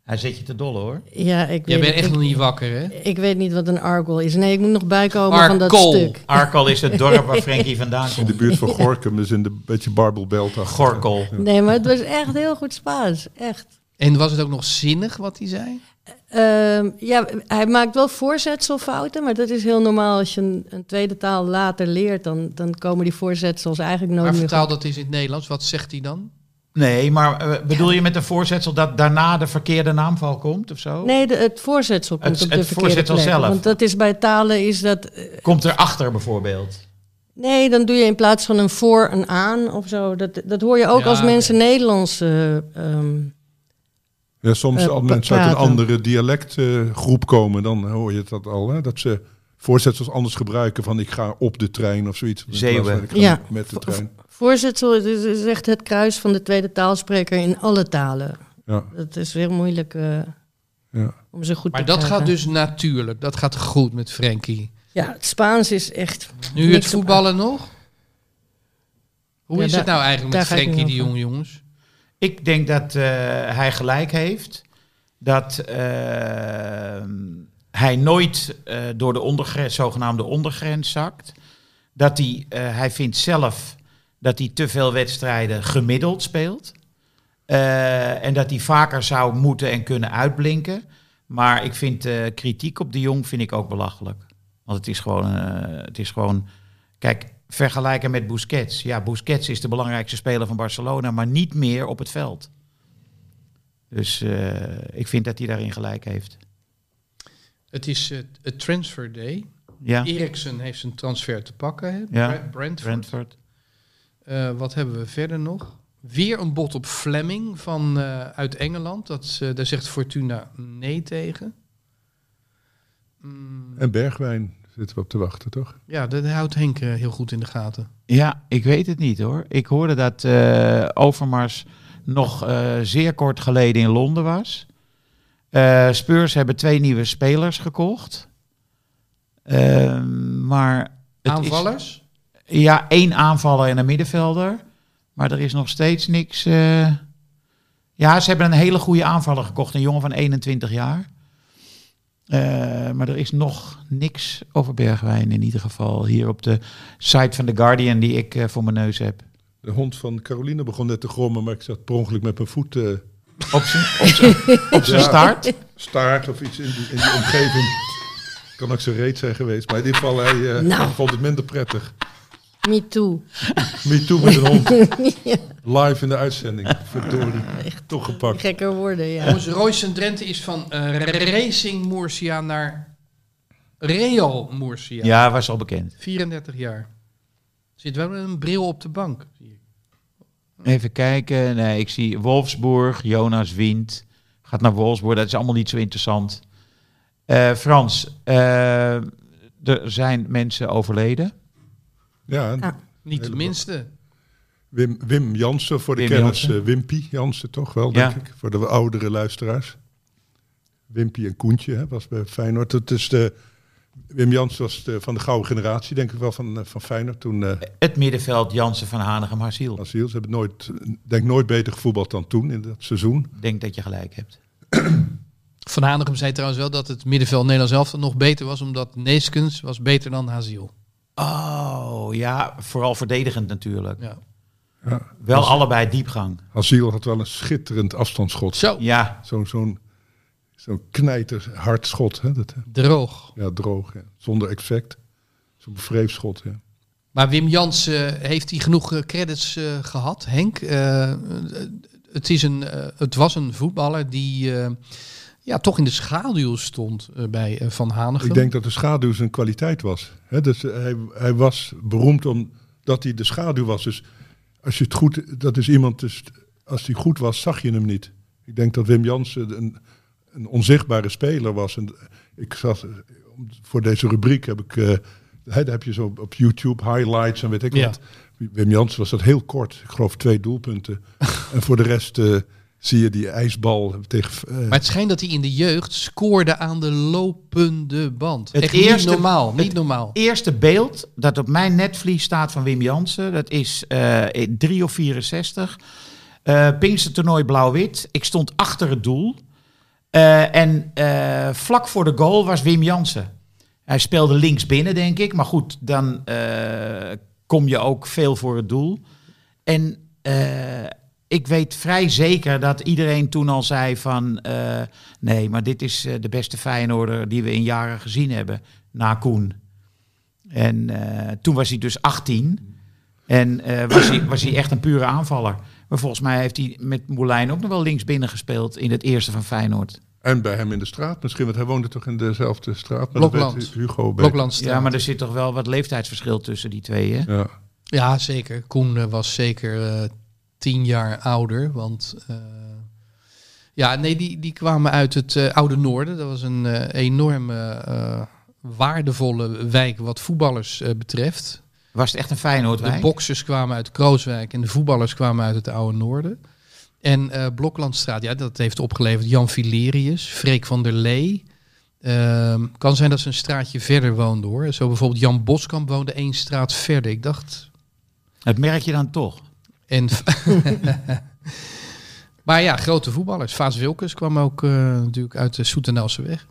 C: Hij zit je te dolle hoor.
E: Ja, ik
A: Jij
E: weet
A: bent echt
E: ik-
A: nog niet wakker, hè?
E: Ik weet niet wat een argol is. Nee, ik moet nog bijkomen van dat
A: Arcol.
E: stuk.
C: Arkel is het dorp waar Frankie vandaan
B: In de
C: komt.
E: <laughs>
B: buurt van Gorkum, dus in de beetje barbelbelt. achter.
C: Gorkel.
E: Nee, maar het was echt heel goed Spaans. Echt.
A: En was het ook nog zinnig wat hij zei?
E: Ehm, ja, hij maakt wel voorzetselfouten, maar dat is heel normaal. Als je een, een tweede taal later leert, dan, dan komen die voorzetsels eigenlijk nooit
A: maar
E: meer
A: vertaal dat eens in het Nederlands. Wat zegt hij dan?
C: Nee, maar eh, bedoel je met een voorzetsel dat daarna de verkeerde naamval komt of zo?
E: goed. Nee, de- het voorzetsel komt
C: Het-
E: op de
C: het
E: verkeerde
C: voorzetsel
E: plek.
C: zelf.
E: Want dat is bij talen is dat... eh,
C: Komt erachter bijvoorbeeld.
E: Nee, dan doe je in plaats van een voor een aan of zo. Dat, dat hoor je ook
A: Ja,
E: als
A: oké.
E: mensen Nederlands... eh, ehm,
B: Ja, soms
E: Eh,
B: als mensen uit een
E: praten.
B: andere dialectgroep komen, dan hoor je dat al. Hè? Dat ze voorzetsels anders gebruiken van ik ga op de trein of zoiets. In plaats
C: Zeeuwen.
B: van, Ik ga
E: Ja.
B: Met de trein.
E: Voorzetsel het is, is echt het kruis van de tweede taalspreker in alle talen.
B: Ja,
E: Dat is heel moeilijk eh,
B: ja.
E: om ze goed
A: Maar
E: te
A: dat
E: krijgen.
A: gaat dus natuurlijk. Dat gaat goed met Frankie.
E: Ja, het Spaans is echt...
A: Nu
E: Niks
A: het voetballen nog? Hoe
E: Ja,
A: is
E: daar-
A: het nou eigenlijk met
E: daar ga ik
A: Frankie de
E: niet over.
A: Jong, jongens?
C: Ik denk dat eh, hij gelijk heeft. Dat eh, hij nooit eh, door de ondergrens, zogenaamde ondergrens zakt. Dat hij, eh, hij vindt zelf dat hij te veel wedstrijden gemiddeld speelt. Eh, en dat hij vaker zou moeten en kunnen uitblinken. Maar ik vind eh, kritiek op de jong vind ik ook belachelijk. Want het is gewoon, eh, het is gewoon Kijk, vergelijken met Busquets. Ja, Busquets is de belangrijkste speler van Barcelona, maar niet meer op het veld. Dus eh, ik vind dat hij daarin gelijk heeft.
A: Het is eh, het transfer day.
C: Ja,
A: Eriksen heeft zijn transfer te pakken. Hè?
C: Ja.
A: Bra- Brentford.
C: Brentford.
A: Eh, wat hebben we verder nog? Weer een bot op Fleming van, eh, uit Engeland. Dat, is, eh, daar zegt Fortuna nee tegen. Mm,
C: Ehm.
B: En Bergwijn zitten we op te wachten, toch?
A: ja, dat houdt Henk eh, heel goed in de gaten.
C: Ja, ik weet het niet hoor. Ik hoorde dat eh, Overmars nog eh, zeer kort geleden in Londen was. Eh Spurs hebben twee nieuwe spelers gekocht. Ehm, maar het is-
A: Aanvallers?
C: Ja, één aanvaller en een middenvelder. Maar er is nog steeds niks. eh. Ja, ze hebben een hele goede aanvaller gekocht. Een jongen van 21 jaar. Eh, maar er is nog niks over Bergwijn in ieder geval. Hier op de site van The Guardian die ik eh, voor mijn neus heb.
B: De hond van Caroline begon net te grommen, maar ik zat per ongeluk met mijn voet eh,
C: Op zijn- op zijn- op zijn
B: Ja.
C: staart.
B: staart of iets in die, in die
E: <laughs>
B: omgeving. Kan ook zo reet zijn geweest, maar in ieder geval, hij eh,
E: Nou.
B: vond het minder prettig.
E: Me too.
B: Me too met een hond. Live in de uitzending. Verdorie, toch gepakt.
E: Gekker worden, ja.
A: Jongens, Royce en Drenthe is van eh, Racing Murcia naar Real Murcia.
C: Ja, was al bekend.
A: 34 jaar. Zit wel met een bril op de bank. zie ik.
C: Even kijken. Nee, ik zie Wolfsburg, Jonas Wind. Gaat naar Wolfsburg. Dat is allemaal niet zo interessant. Eh, Frans, eh, er zijn mensen overleden.
B: Ja,
E: Ah.
A: Niet de minste.
B: Wim, Wim Jansen voor de
C: Wim
B: kennis.
C: Jansen.
B: eh, Wimpy Jansen toch wel,
C: Ja.
B: denk ik. Voor de oudere luisteraars. Wimpy en Koentje hè, was bij Feyenoord. Het is de, Wim Jansen was de, van de gouden generatie, denk ik wel, van, eh, van Feyenoord. Toen eh
C: Het middenveld Jansen van Hanegem Harsiel.
B: asiel. Ze hebben nooit, denk nooit beter gevoetbald dan toen in dat seizoen.
C: Ik denk dat je gelijk hebt.
A: Van Hanegem zei trouwens wel dat het middenveld Nederland zelf nog beter was, omdat Neeskens was beter dan Haziel.
C: Oh, ja, vooral verdedigend natuurlijk. Dus-
A: Ja.
C: Wel allebei diepgang.
B: Asiel had wel een schitterend afstandsschot.
A: Zo,
C: Ja,
B: Zo'n zo'n zo'n knijterhard schot. Hè? Dat, hè.
A: droog.
B: ja, droog. ja. Zonder effect. Zo'n vreefschot. Ja.
A: Maar Wim Jans, eh, heeft hij genoeg eh, credits eh, gehad, Henk? Eh, eh, het, is een, eh, het was een voetballer die eh, ja, toch in de schaduw stond eh, bij eh, Van Hanegem.
B: Ik denk dat de schaduw zijn kwaliteit was. Hè? Dus eh, hij, hij was beroemd omdat hij de schaduw was. Dus als je het goed, dat is iemand, dus als hij goed was, zag je hem niet. Ik denk dat Wim Jansen een, een onzichtbare speler was. En ik zat, eh, om- voor deze rubriek heb ik, eh, hè, daar heb je zo op YouTube highlights en weet ik
A: Ja.
B: wat. Wim Jansen was dat heel kort. Ik geloof twee doelpunten. en voor de rest eh, zie je die ijsbal tegen... eh,
A: Maar het schijnt dat hij in de jeugd scoorde aan de lopende band.
C: Het
A: Echt
C: eerste-
A: niet normaal, niet
C: het-
A: normaal.
C: eerste beeld dat op mijn netvlies staat van Wim Jansen. Dat is eh 3 of 64. Eh Pinkse toernooi blauw-wit. Ik stond achter het doel. Eh, en eh, vlak voor de goal was Wim Jansen. Hij speelde links binnen, denk ik. Maar goed, dan eh, kom je ook veel voor het doel. En eh, ik weet vrij zeker dat iedereen toen al zei van... eh, nee, maar dit is eh, de beste Feyenoorder die we in jaren gezien hebben. Na Koen. En eh, toen was hij dus 18. En eh, was, hij, was hij echt een pure aanvaller. Maar volgens mij heeft hij met Moulijn ook nog wel links binnen gespeeld in het eerste van Feyenoord.
B: En bij hem in de straat misschien, want hij woonde toch in dezelfde straat. Maar
A: Blokland.
B: dat weet Hugo beter.
A: Bloklandstraat.
C: Ja, maar er zit toch wel wat leeftijdsverschil tussen die twee, hè?
B: Ja.
C: dus-
A: Ja, zeker. Koen eh, was zeker eh, tien jaar ouder. Want eh, ja, nee, die, die kwamen uit het eh, Oude Noorden. Dat was een eh, enorme eh, waardevolle wijk wat voetballers eh, betreft.
C: Was het echt een Feyenoord
A: De boksers kwamen uit Krooswijk en de voetballers kwamen uit het Oude Noorden. En eh, Bloklandstraat, ja, dat heeft opgeleverd Jan Filerius, Freek van der Lee. Ehm, kan zijn dat ze een straatje verder woonden hoor. Zo bijvoorbeeld Jan Boskamp woonde één straat verder. Ik dacht,
C: Dat merk je dan toch.
A: en <laughs> maar ja, grote voetballers. Vaas Wilkes kwam ook eh, natuurlijk uit de Soetenelse weg.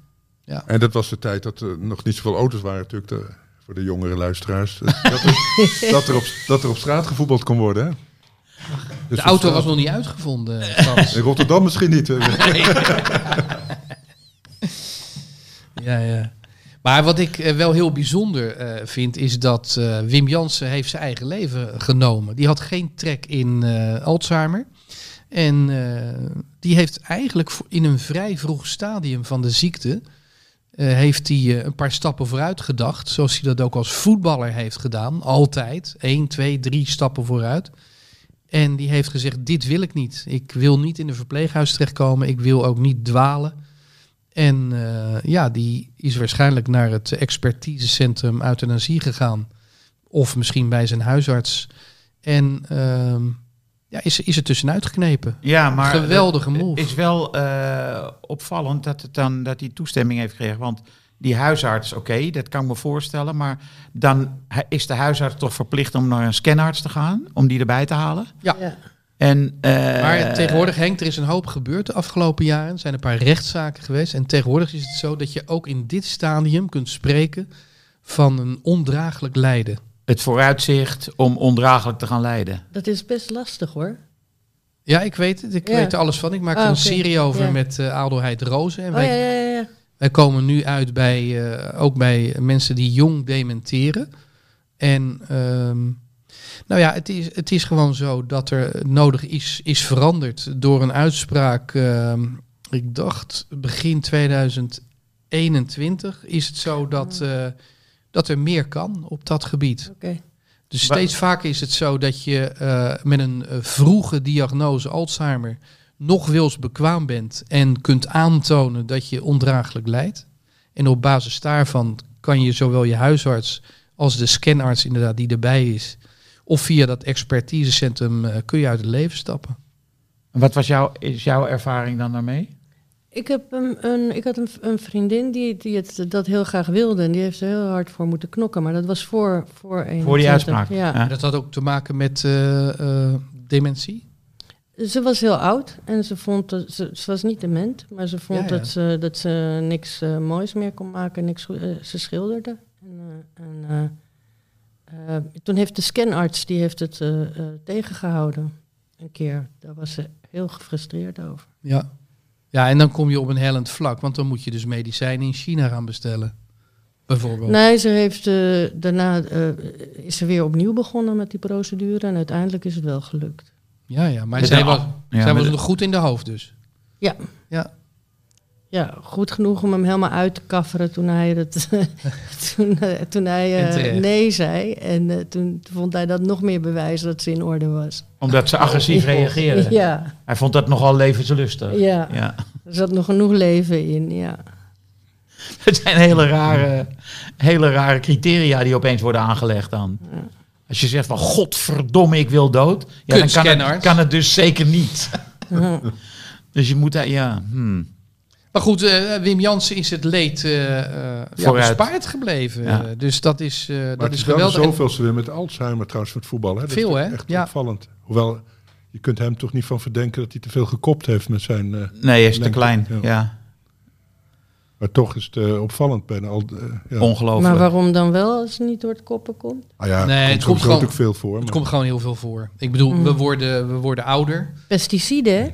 B: En dat was de tijd dat er nog niet zoveel auto's waren natuurlijk, de- voor de jongere luisteraars. Dus <laughs> dat, er, dat, er op, dat er op straat gevoetbald kon worden. Hè? Dus
A: De auto was nog niet uitgevonden. eh, Frans.
B: <laughs> In Rotterdam misschien
A: <laughs>
B: niet. hè.
A: ja, ja. Maar wat ik eh, wel heel bijzonder eh, vind, is dat eh, Wim Jansen heeft zijn eigen leven genomen. Die had geen trek in eh, Alzheimer. En eh, die heeft eigenlijk voor- in een vrij vroeg stadium van de ziekte... eh, heeft hij eh, een paar stappen vooruit gedacht. Zoals hij dat ook als voetballer heeft gedaan. Altijd. Eén, twee, drie stappen vooruit. En die heeft gezegd, dit wil ik niet. Ik wil niet in een verpleeghuis terechtkomen. Ik wil ook niet dwalen. En eh, ja, die is waarschijnlijk naar het expertisecentrum euthanasie gegaan. Of misschien bij zijn huisarts. En ehm, ja, is, is er tussenuit geknepen.
C: Ja, maar
A: Geweldige
C: het-
A: move.
C: Het is wel eh, opvallend dat, het dan, dat hij toestemming heeft gekregen. Want die huisarts, oké, dat kan ik me voorstellen. Maar dan he- is de huisarts toch verplicht om naar een scanarts te gaan. Om die erbij te halen.
A: Ja.
E: Ja.
C: En, eh,
A: Maar tegenwoordig, Henk, er is een hoop gebeurd de afgelopen jaren. Er zijn een paar rechtszaken geweest. En tegenwoordig is het zo dat je ook in dit stadium kunt spreken van een ondraaglijk lijden.
C: Het vooruitzicht om ondraaglijk te gaan lijden.
E: Dat is best lastig hoor.
A: Ja, ik weet het. Ik
E: Ja.
A: weet er alles van. Ik maak er
E: Ah,
A: een
E: oké.
A: serie over
E: Ja.
A: met eh Adelheid Rozen. En
E: Oh ja,
A: wij
E: ja, ja, ja.
A: Wij komen nu uit bij, eh, ook bij mensen die jong dementeren. En ehm, nou ja, het is, het is gewoon zo dat er nodig is, is veranderd door een uitspraak. ehm, ik dacht begin 2021 is het zo dat, eh, dat er meer kan op dat gebied.
E: Oké.
A: Dus steeds vaker is het zo dat je eh, met een eh, vroege diagnose Alzheimer nog wils bekwaam bent en kunt aantonen dat je ondraaglijk lijdt. En op basis daarvan kan je zowel je huisarts als de scanarts inderdaad die erbij is, of via dat expertisecentrum eh, kun je uit het leven stappen.
C: Wat was jouw, is jouw ervaring dan daarmee?
E: Ik, heb een, een, ik had een, een vriendin die, die het, dat heel graag wilde. En die heeft er heel hard voor moeten knokken. Maar dat was voor, voor een.
C: Voor die uitspraak.
E: Ja.
C: Ja.
A: Dat had ook te maken met eh, eh, dementie.
E: Ze was heel oud en ze vond dat ze, ze was niet dement, maar ze vond
A: Ja, ja.
E: Dat, ze, dat ze niks eh, moois meer kon maken, niks, goe- eh, ze schilderde. En, eh, en, eh, eh, toen heeft de scanarts die heeft het eh, eh, tegengehouden een keer. Daar was ze heel gefrustreerd over.
A: Ja. ja, en dan kom je op een hellend vlak, want dan moet je dus medicijnen in China gaan bestellen. Bijvoorbeeld.
E: Nee, ze heeft eh, daarna eh, is ze weer opnieuw begonnen met die procedure en uiteindelijk is het wel gelukt.
A: Ja, ja, maar
C: Met
A: zij
C: een
A: was,
C: a- ja,
A: zij
C: met
A: was
C: een-
A: nog goed in de hoofd dus.
E: Ja.
A: Ja.
E: Ja, goed genoeg om hem helemaal uit te kafferen toen hij,
A: <laughs>
E: het, toen, eh, toen hij eh,
A: En terecht.
E: nee zei. En eh, toen vond hij dat nog meer bewijs dat ze in orde was.
C: Omdat ze agressief reageren.
E: Ja,
C: Hij vond dat nogal levenslustig.
E: ja,
C: Ja.
E: er zat nog genoeg leven in. Ja,
C: <laughs> Het zijn hele rare, hele rare criteria die opeens worden aangelegd dan. Als je zegt van godverdomme, ik wil dood. Ja, dan kan het,
A: Kunstkenners.
C: kan het dus zeker
B: <laughs>
C: niet. <laughs> dus je moet daar, ja. hmm.
A: Maar goed, eh, Wim Jansen is het leed eh eh, ja,
C: Vooruit.
A: bespaard gebleven.
C: Ja.
A: Eh, Dus dat is, eh,
B: Maar
A: dat
B: het
A: is
B: is wel
A: geweldig. En-
B: zoveel ze weer met Alzheimer trouwens voor het voetbal. Hè? Dat
A: Veel,
B: is
A: hè?
B: Echt
A: Ja.
B: opvallend. Hoewel, je kunt hem toch niet van verdenken dat hij te veel gekopt heeft met zijn... eh,
C: Nee, hij is te
B: Lengte,
C: klein.
B: ja.
C: Ja.
B: maar toch is het eh, opvallend bijna. Al, eh, ja.
C: Ongelooflijk.
E: maar waarom dan wel als het niet door het koppen komt?
B: Ah ja,
A: Nee,
B: nee,
A: het
B: het
A: komt
B: komt
A: gewoon-
B: natuurlijk veel voor.
A: Het
B: maar-
A: komt gewoon heel veel voor. Ik bedoel,
E: Mm.
A: we, worden, we worden ouder.
E: Pesticiden, hè?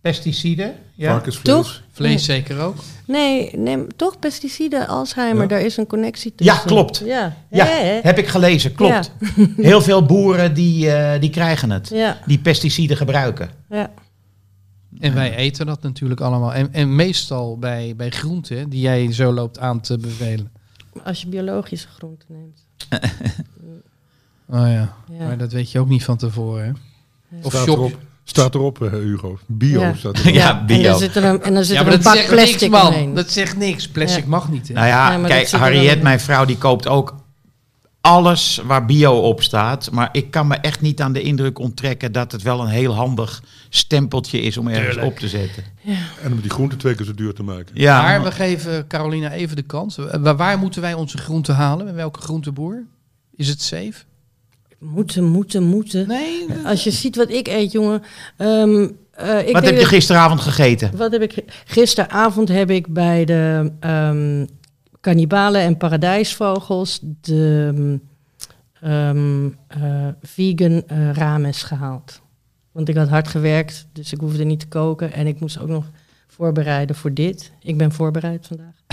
C: Pesticiden? Ja.
B: varkensvlees.
E: Toch?
A: Vlees
E: Nee.
A: zeker ook.
E: Nee, nee, toch pesticiden, Alzheimer,
B: Ja.
E: daar is een connectie tussen.
C: klopt.
E: Ja,
C: Ja,
E: Hè?
C: heb ik gelezen, klopt. <laughs> Heel veel boeren die, eh, die krijgen het.
E: ja,
C: Die pesticiden gebruiken.
E: ja.
A: En wij eten dat natuurlijk allemaal. En, en meestal bij, bij groenten die jij zo loopt aan te bevelen.
E: als je biologische groenten neemt.
A: Oh ja,
E: Ja.
A: maar dat weet je ook niet van tevoren. Hè? Of
B: Staat
A: shop.
B: erop. Staat erop, eh, Hugo. Bio
E: Ja.
B: staat erop.
C: Ja, bio.
E: En dus dan zit er een, en dan zit
A: Ja,
E: er
A: maar
E: een
A: dat
E: pak
A: zegt niks,
E: plastic
A: man.
E: omheen.
A: Dat zegt niks. Plastic
E: Ja.
A: mag niet. Hè?
C: Nou ja,
E: Ja, maar
C: kijk,
E: dat zit er dan
C: Harriet,
E: in.
C: mijn vrouw, die koopt ook alles waar bio op staat. Maar ik kan me echt niet aan de indruk onttrekken dat het wel een heel handig stempeltje is om ergens op te zetten.
B: En om die groenten twee keer zo duur te maken.
C: Ja,
A: Maar we geven Carolina even de kans. Eh, Waar, waar moeten wij onze groenten halen? Bij welke groenteboer? Is het safe?
E: Moeten, moeten, moeten.
A: Nee. dat-
E: Als je ziet wat ik eet, jongen. Ehm, eh, ik
C: wat
E: denk
C: heb je
E: dat-
C: gisteravond gegeten?
E: Wat heb ik ge- gisteravond heb ik bij de ehm kannibalen en paradijsvogels de ehm, eh, vegan eh, rames gehaald. Want ik had hard gewerkt, dus ik hoefde niet te koken en ik moest ook nog voorbereiden voor dit. Ik ben voorbereid vandaag.
A: <laughs>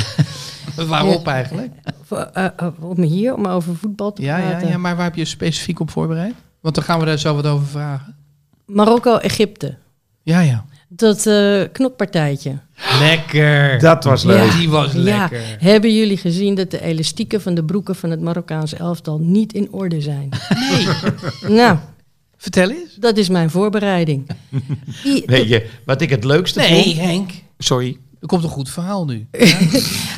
A: Waarop eigenlijk?
E: Voor, eh, eh, om hier, om over voetbal te
A: Ja, ja,
E: praten.
A: ja, maar waar heb je specifiek op voorbereid? Want dan gaan we daar zo wat over vragen.
E: Marokko, Egypte.
A: Ja, ja.
E: Dat eh, knokpartijtje.
A: Lekker.
C: Dat was leuk.
A: Die was
E: Ja,
A: lekker.
E: hebben jullie gezien dat de elastieken van de broeken van het Marokkaanse elftal niet in orde zijn?
A: Nee.
E: <laughs> nou,
A: Vertel eens.
E: dat is mijn voorbereiding. I-
C: <laughs> Weet je, wat ik het leukste vond?
A: Henk.
C: Sorry.
A: Er komt een goed verhaal nu.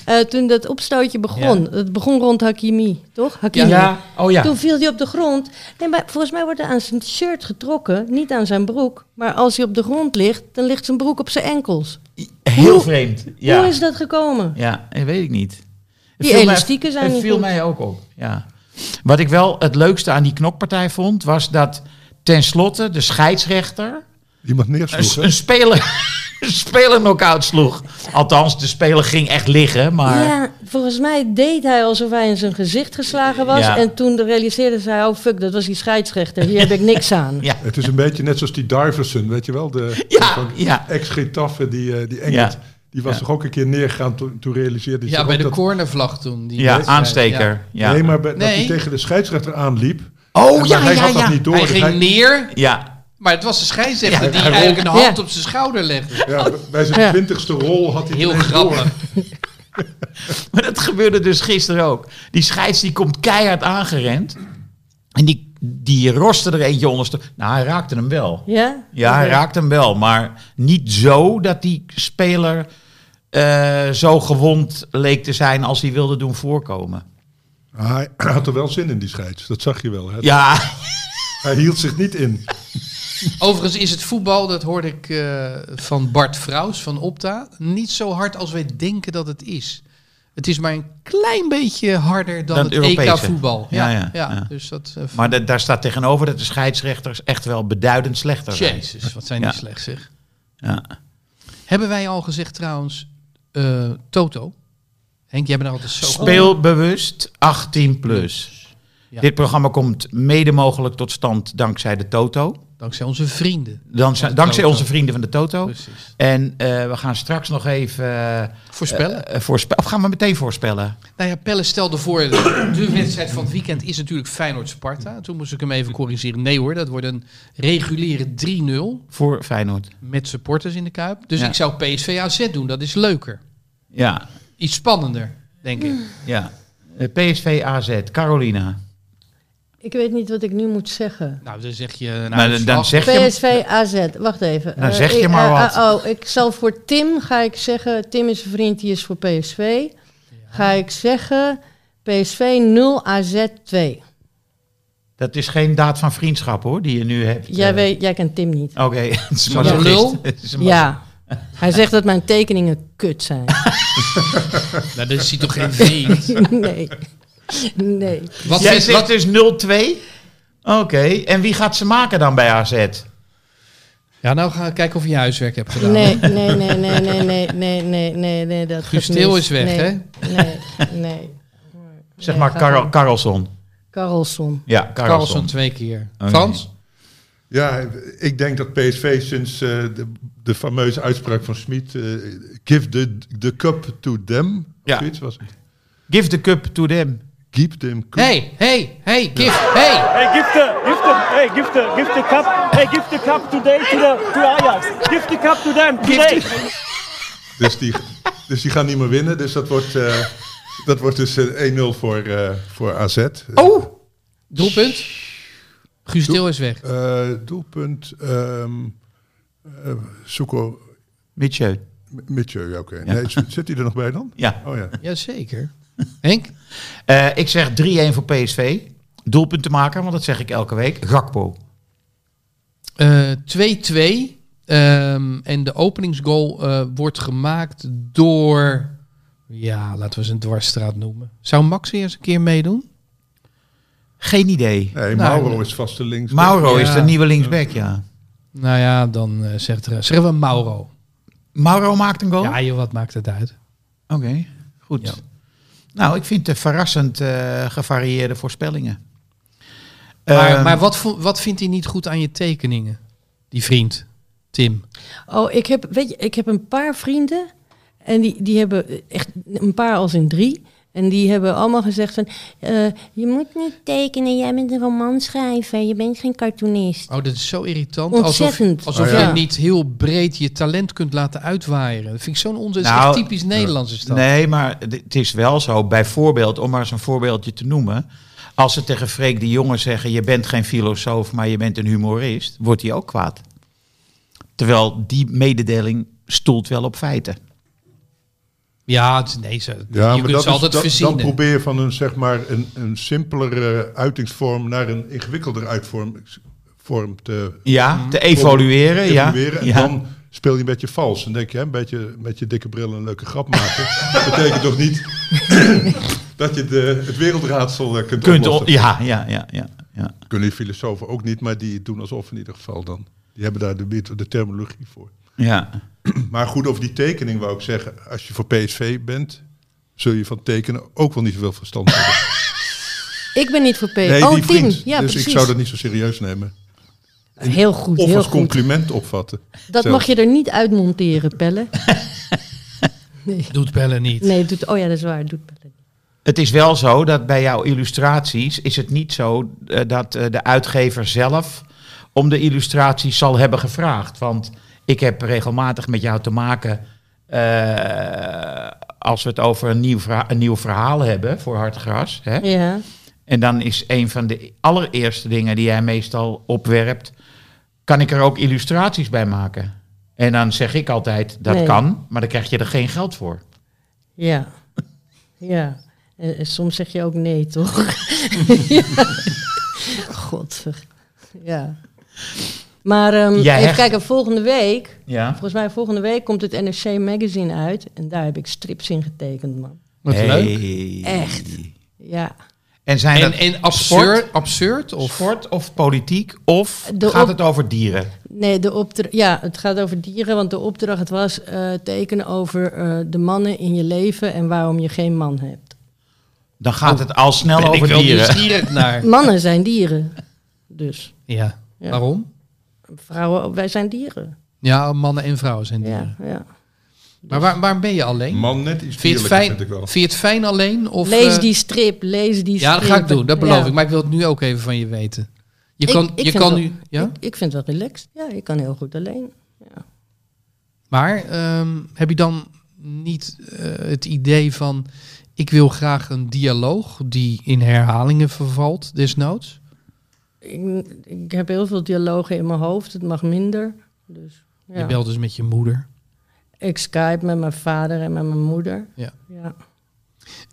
E: eh, toen dat opstootje begon, het begon rond Hakimi, toch? Hakimi.
C: Ja, oh ja.
E: Toen viel hij op de grond. Nee, maar volgens mij wordt er aan zijn shirt getrokken, niet aan zijn broek. Maar als hij op de grond ligt, dan ligt zijn broek op zijn enkels.
C: Heel
E: Hoe-
C: vreemd.
E: Hoe
C: Ja,
E: is dat gekomen?
C: ja dat weet ik niet. Het
E: Die
C: viel mij-
E: elastieken zijn
C: Het
E: niet
C: viel
E: goed.
C: mij ook op, ja. Wat ik wel het leukste aan die knokpartij vond, was dat tenslotte de scheidsrechter...
B: Iemand
C: Een,
B: neersloeg, hè?
C: een speler, <laughs> een speler knock-out sloeg. Althans, de speler ging echt liggen, maar...
E: Ja, volgens mij deed hij alsof hij in zijn gezicht geslagen was.
C: Ja.
E: En toen realiseerde zij, oh fuck, dat was die scheidsrechter. Hier heb ik
C: <laughs>
E: niks aan.
C: Ja.
B: Het is een beetje net zoals die Diverson, weet je wel? De
C: Ja, ja.
B: ex-Getafe, die, eh, die Engels.
C: Ja.
B: Die was
C: Ja.
B: toch ook een keer neergegaan toen, toen realiseerde hij
A: <laughs> Ja,
B: zich
A: bij
B: ook
A: de
B: dat...
A: cornervlag toen. Die
C: ja
A: wedstrijd,
C: aansteker. Ja.
B: Nee, maar bij- dat
A: Nee.
B: hij tegen de scheidsrechter aanliep. En-
C: Oh,
B: maar
C: ja,
B: hij
C: ja,
B: had dat
C: ja.
B: niet door.
A: Hij
B: dus
A: ging
B: hij-
A: neer,
C: Ja, <laughs>
A: maar het was de scheidsrechter
B: Ja,
A: die
B: hij
A: eigenlijk een hand
E: Ja.
A: op zijn schouder legde.
B: ja, bij zijn
E: Ja.
B: twintigste rol had hij
A: Heel
B: het ineens door.
A: grappig.
C: maar dat gebeurde dus gisteren ook. Die scheids die komt keihard aangerend. En die, die roste er eentje onderste. Nou, hij raakte hem wel.
E: Ja?
C: Ja, hij
E: Oké.
C: raakte hem wel. Maar niet zo dat die speler eh, zo gewond leek te zijn als hij wilde doen voorkomen.
B: Hij hij had er wel zin in, die scheids. Dat zag je wel. Hè?
C: Ja,
B: Hij hield zich niet in.
A: Overigens is het voetbal, dat hoorde ik eh, van Bart Vrouws van Opta, niet zo hard als wij denken dat het is. Het is maar een klein beetje harder dan
C: Dan
A: het
C: het Europese.
A: EK-voetbal. Ja,
C: Ja,
A: ja,
C: ja, ja.
A: Dus dat, eh,
C: Maar da- daar staat tegenover dat de scheidsrechters echt wel beduidend slechter zijn.
A: jezus, wat zijn
C: Ja.
A: die slecht zeg.
C: Ja.
A: Hebben wij al gezegd trouwens, eh, Toto? Henk, jij bent er altijd zo goed in.
C: Speelbewust 18 plus.
A: Ja.
C: Dit programma komt mede mogelijk tot stand dankzij de Toto.
A: Dankzij onze vrienden.
C: Dankzij,
A: de
C: dankzij
A: Toto.
C: onze vrienden van de Toto.
A: Precies.
C: En eh, we gaan straks nog even eh,
A: Voorspellen.
C: eh, voorspellen. Of gaan we meteen voorspellen?
A: Nou ja, Pelle stelde voor, de <clears throat> de wedstrijd van het weekend is natuurlijk Feyenoord-Sparta. Toen moest ik hem even corrigeren. Nee hoor, dat wordt een reguliere 3-0
C: Voor Feyenoord.
A: met supporters in de Kuip. Dus
C: Ja.
A: ik zou PSV AZ doen, dat is leuker.
C: Ja,
A: Iets spannender, denk ik.
C: ja. Eh, PSV AZ, Carolina.
E: Ik weet niet wat ik nu moet zeggen.
A: Nou, dan zeg je een
C: Maar dan, dan
A: uitslag.
C: zeg je...
E: PSV AZ, wacht even.
C: Nou,
E: Eh,
C: zeg je
E: ik-
C: maar wat.
E: eh, eh, oh, ik zal voor Tim ga ik zeggen, Tim is een vriend die is voor PSV. Ga ik zeggen PSV 0 AZ 2.
C: Dat is geen daad van vriendschap hoor, die je nu hebt.
E: Jij,
C: Eh,
E: weet, jij kent Tim niet.
C: Oké, <laughs> het is een
A: Zo'n
C: masochist.
A: lul.
C: <laughs> Het is een
E: Ja. Hij zegt dat mijn tekeningen
C: <laughs>
E: kut zijn.
A: <laughs> Nou, dat is hij toch geen vriend.
E: nee. Nee.
A: Wat
C: Jij
A: vindt-
C: zegt
A: wat-
C: dus 0-2? Oké, en wie gaat ze maken dan bij AZ?
A: Ja, nou ga ik kijken of je je huiswerk hebt gedaan.
E: Nee, nee, nee, nee, nee, nee, nee, nee, nee, nee. Dat
A: Guus
E: gaat
A: Til
E: mis.
A: is weg,
E: nee,
A: hè?
E: Nee, nee.
C: Zeg
E: Nee,
C: maar
E: ga
C: Karel,
E: door.
C: Karelson.
E: Karlsson.
C: Ja,
A: Carlson
C: Karelson.
A: twee keer.
C: Oké.
A: Frans?
B: Ja, ik denk dat PSV sinds eh, de, de fameuze uitspraak van Smit... eh, give the, the cup to them. of
C: Ja.
B: Zoiets was het.
C: Give the cup to them.
B: Keep them cup.
A: Hey, hey, hey, gift, hey!
H: Hey, give the, give the, hey, give the, give the cup, hey, give the cup today to the, to Ajax. Give the cup to them today.
B: Dus, die, dus die gaan niet meer winnen. Dus dat wordt, eh, dat wordt dus eh, 1-0 voor, eh, voor AZ.
A: Oh! Doelpunt. Guus Til is weg.
B: Eh, doelpunt... ehm eh, Soeko
C: Mitchell.
B: Mitchell, ja, oké. Nee, z- zit hij er nog bij dan?
C: Ja.
B: Oh ja.
A: Jazeker. Henk?
C: Eh, ik zeg 3-1 voor PSV. Doelpunt te maken, want dat zeg ik elke week. Gakpo.
A: Eh, 2-2. Ehm, en de openingsgoal eh, wordt gemaakt door. Ja, laten we eens een dwarsstraat noemen. Zou Max eerst een keer meedoen?
C: Geen idee.
A: Nou,
B: Nee, Mauro is vaste links.
C: Mauro
A: Ja.
C: is de nieuwe linksback, ja.
A: Nou ja, dan eh, zegt er, zeggen we Mauro.
C: Mauro maakt een goal?
A: Ja, joh, wat maakt het uit?
C: Oké, goed.
A: Ja.
C: Nou, ik vind het verrassend eh, gevarieerde voorspellingen.
A: Maar,
C: Ehm,
A: maar wat, vo- wat vindt hij niet goed aan je tekeningen? Die vriend, Tim.
E: Oh, ik heb, weet je, ik heb een paar vrienden. En die, die hebben echt een paar als in drie. En die hebben allemaal gezegd van... eh, je moet niet tekenen, jij bent een romanschrijver. Je bent geen cartoonist.
A: Oh, dat is zo irritant.
E: Ontzettend.
A: Alsof, alsof
B: Oh, ja.
A: jij niet heel breed je talent kunt laten uitwaaieren. Dat vind ik zo'n onzin. Dat is
C: Nou,
A: echt typisch Nederlands is dat.
C: Nee, maar d- het is wel zo. Bijvoorbeeld, om maar eens een voorbeeldje te noemen. Als ze tegen Freek de Jonge zeggen: Je bent geen filosoof, maar je bent een humorist. wordt hij ook kwaad. Terwijl die mededeling stoelt wel op feiten.
A: Ja, het, nee, ze,
B: Ja,
A: je
B: maar
A: kunt
B: dat
A: ze
B: is-
A: altijd
B: dat-
A: verzinnen.
B: Dan probeer je van een, zeg maar, een, een simpelere uitingsvorm naar een ingewikkelder uitvorm vorm te
C: Ja, te evalueren. ja.
B: evolueren. En
C: ja.
B: dan speel je een beetje vals. Dan denk je, hè, een beetje met je dikke bril een leuke grap maken. Dat betekent toch niet
C: <laughs>
B: dat je de, het wereldraadsel eh, kunt,
C: Kunt o-
B: oplossen.
C: ja, ja, ja, ja, ja.
B: Kunnen die filosofen ook niet, maar die het doen alsof in ieder geval dan. Die hebben daar de, met- de terminologie voor.
C: ja.
B: Maar goed, over die tekening wou ik zeggen, als je voor PSV bent, zul je van tekenen ook wel niet zoveel verstand hebben.
E: Ik ben niet voor PSV.
B: Nee,
E: oh,
B: die
E: Tim.
B: vriend.
E: Ja,
B: dus
E: precies.
B: ik zou dat niet zo serieus nemen.
E: Heel goed,
B: Of
E: heel
B: als
E: goed.
B: compliment opvatten.
E: Dat
B: Zo.
E: mag je er niet uitmonteren, Pelle. <laughs> nee.
A: Doet bellen niet.
E: nee, het doet, oh ja, dat is waar. het Doet Pelle. niet.
C: Het is wel zo dat bij jouw illustraties is het niet zo eh, dat eh, de uitgever zelf om de illustraties zal hebben gevraagd. Want ik heb regelmatig met jou te maken eh, als we het over een nieuw, verha- een nieuw verhaal hebben voor Hartgras. Hè?
E: Ja.
C: En dan is een van de allereerste dingen die jij meestal opwerpt, kan ik er ook illustraties bij maken? En dan zeg ik altijd, dat
E: Nee.
C: kan, maar dan krijg je er geen geld voor.
E: Ja. Ja. En, en soms zeg je ook nee, toch? <laughs> ja. Godver. Ja. Maar ehm,
C: Jij
E: even
C: hecht-
E: kijken, volgende week...
C: Ja.
E: Volgens mij volgende week komt het NRC Magazine uit. En daar heb ik strips in getekend, man.
A: Wat leuk.
C: Hey.
E: Echt. Ja.
C: En zijn
A: En,
C: dat
A: en
C: sport,
A: absurd, absurd of
C: sport of politiek? Of
E: De
C: gaat
E: op-
C: het over dieren?
E: Nee, de opdracht, ja, het gaat over dieren, want de opdracht was eh, tekenen over eh, de mannen in je leven en waarom je geen man hebt.
C: Dan gaat het al snel
A: ben ik
C: over
A: wel
C: dieren.
A: nieuwsgierig
C: <laughs>
A: naar.
E: Mannen zijn dieren, dus.
A: Ja.
E: Ja.
A: Waarom?
E: Vrouwen, wij zijn dieren.
A: Ja, mannen en vrouwen zijn dieren.
E: Ja, dus- ja.
A: Maar waar, waar ben je alleen?
B: Man, net iets
A: Vind je het
B: dierlijker
A: fijn,
B: vind ik wel.
A: vind je het fijn alleen? Of,
E: Lees
A: eh,
E: die strip, lees die strip.
A: Ja, dat ga ik doen, dat beloof
E: Ja.
A: ik. Maar ik wil het nu ook even van je weten. Je
E: Ik-
A: kan,
E: ik
A: je
E: vind
A: kan
E: wel-
A: nu. Ja?
E: Ik, ik vind het wel relaxed. Ja, ik kan heel goed alleen.
A: Maar ehm, heb je dan niet eh, het idee van. Ik wil graag een dialoog die in herhalingen vervalt, desnoods?
E: Ik, ik heb heel veel dialogen in mijn hoofd, het mag minder. Dus,
A: Je
E: ja.
A: belt dus met je moeder.
E: Ik Skype met mijn vader en met mijn moeder.
A: Ja.
E: ja.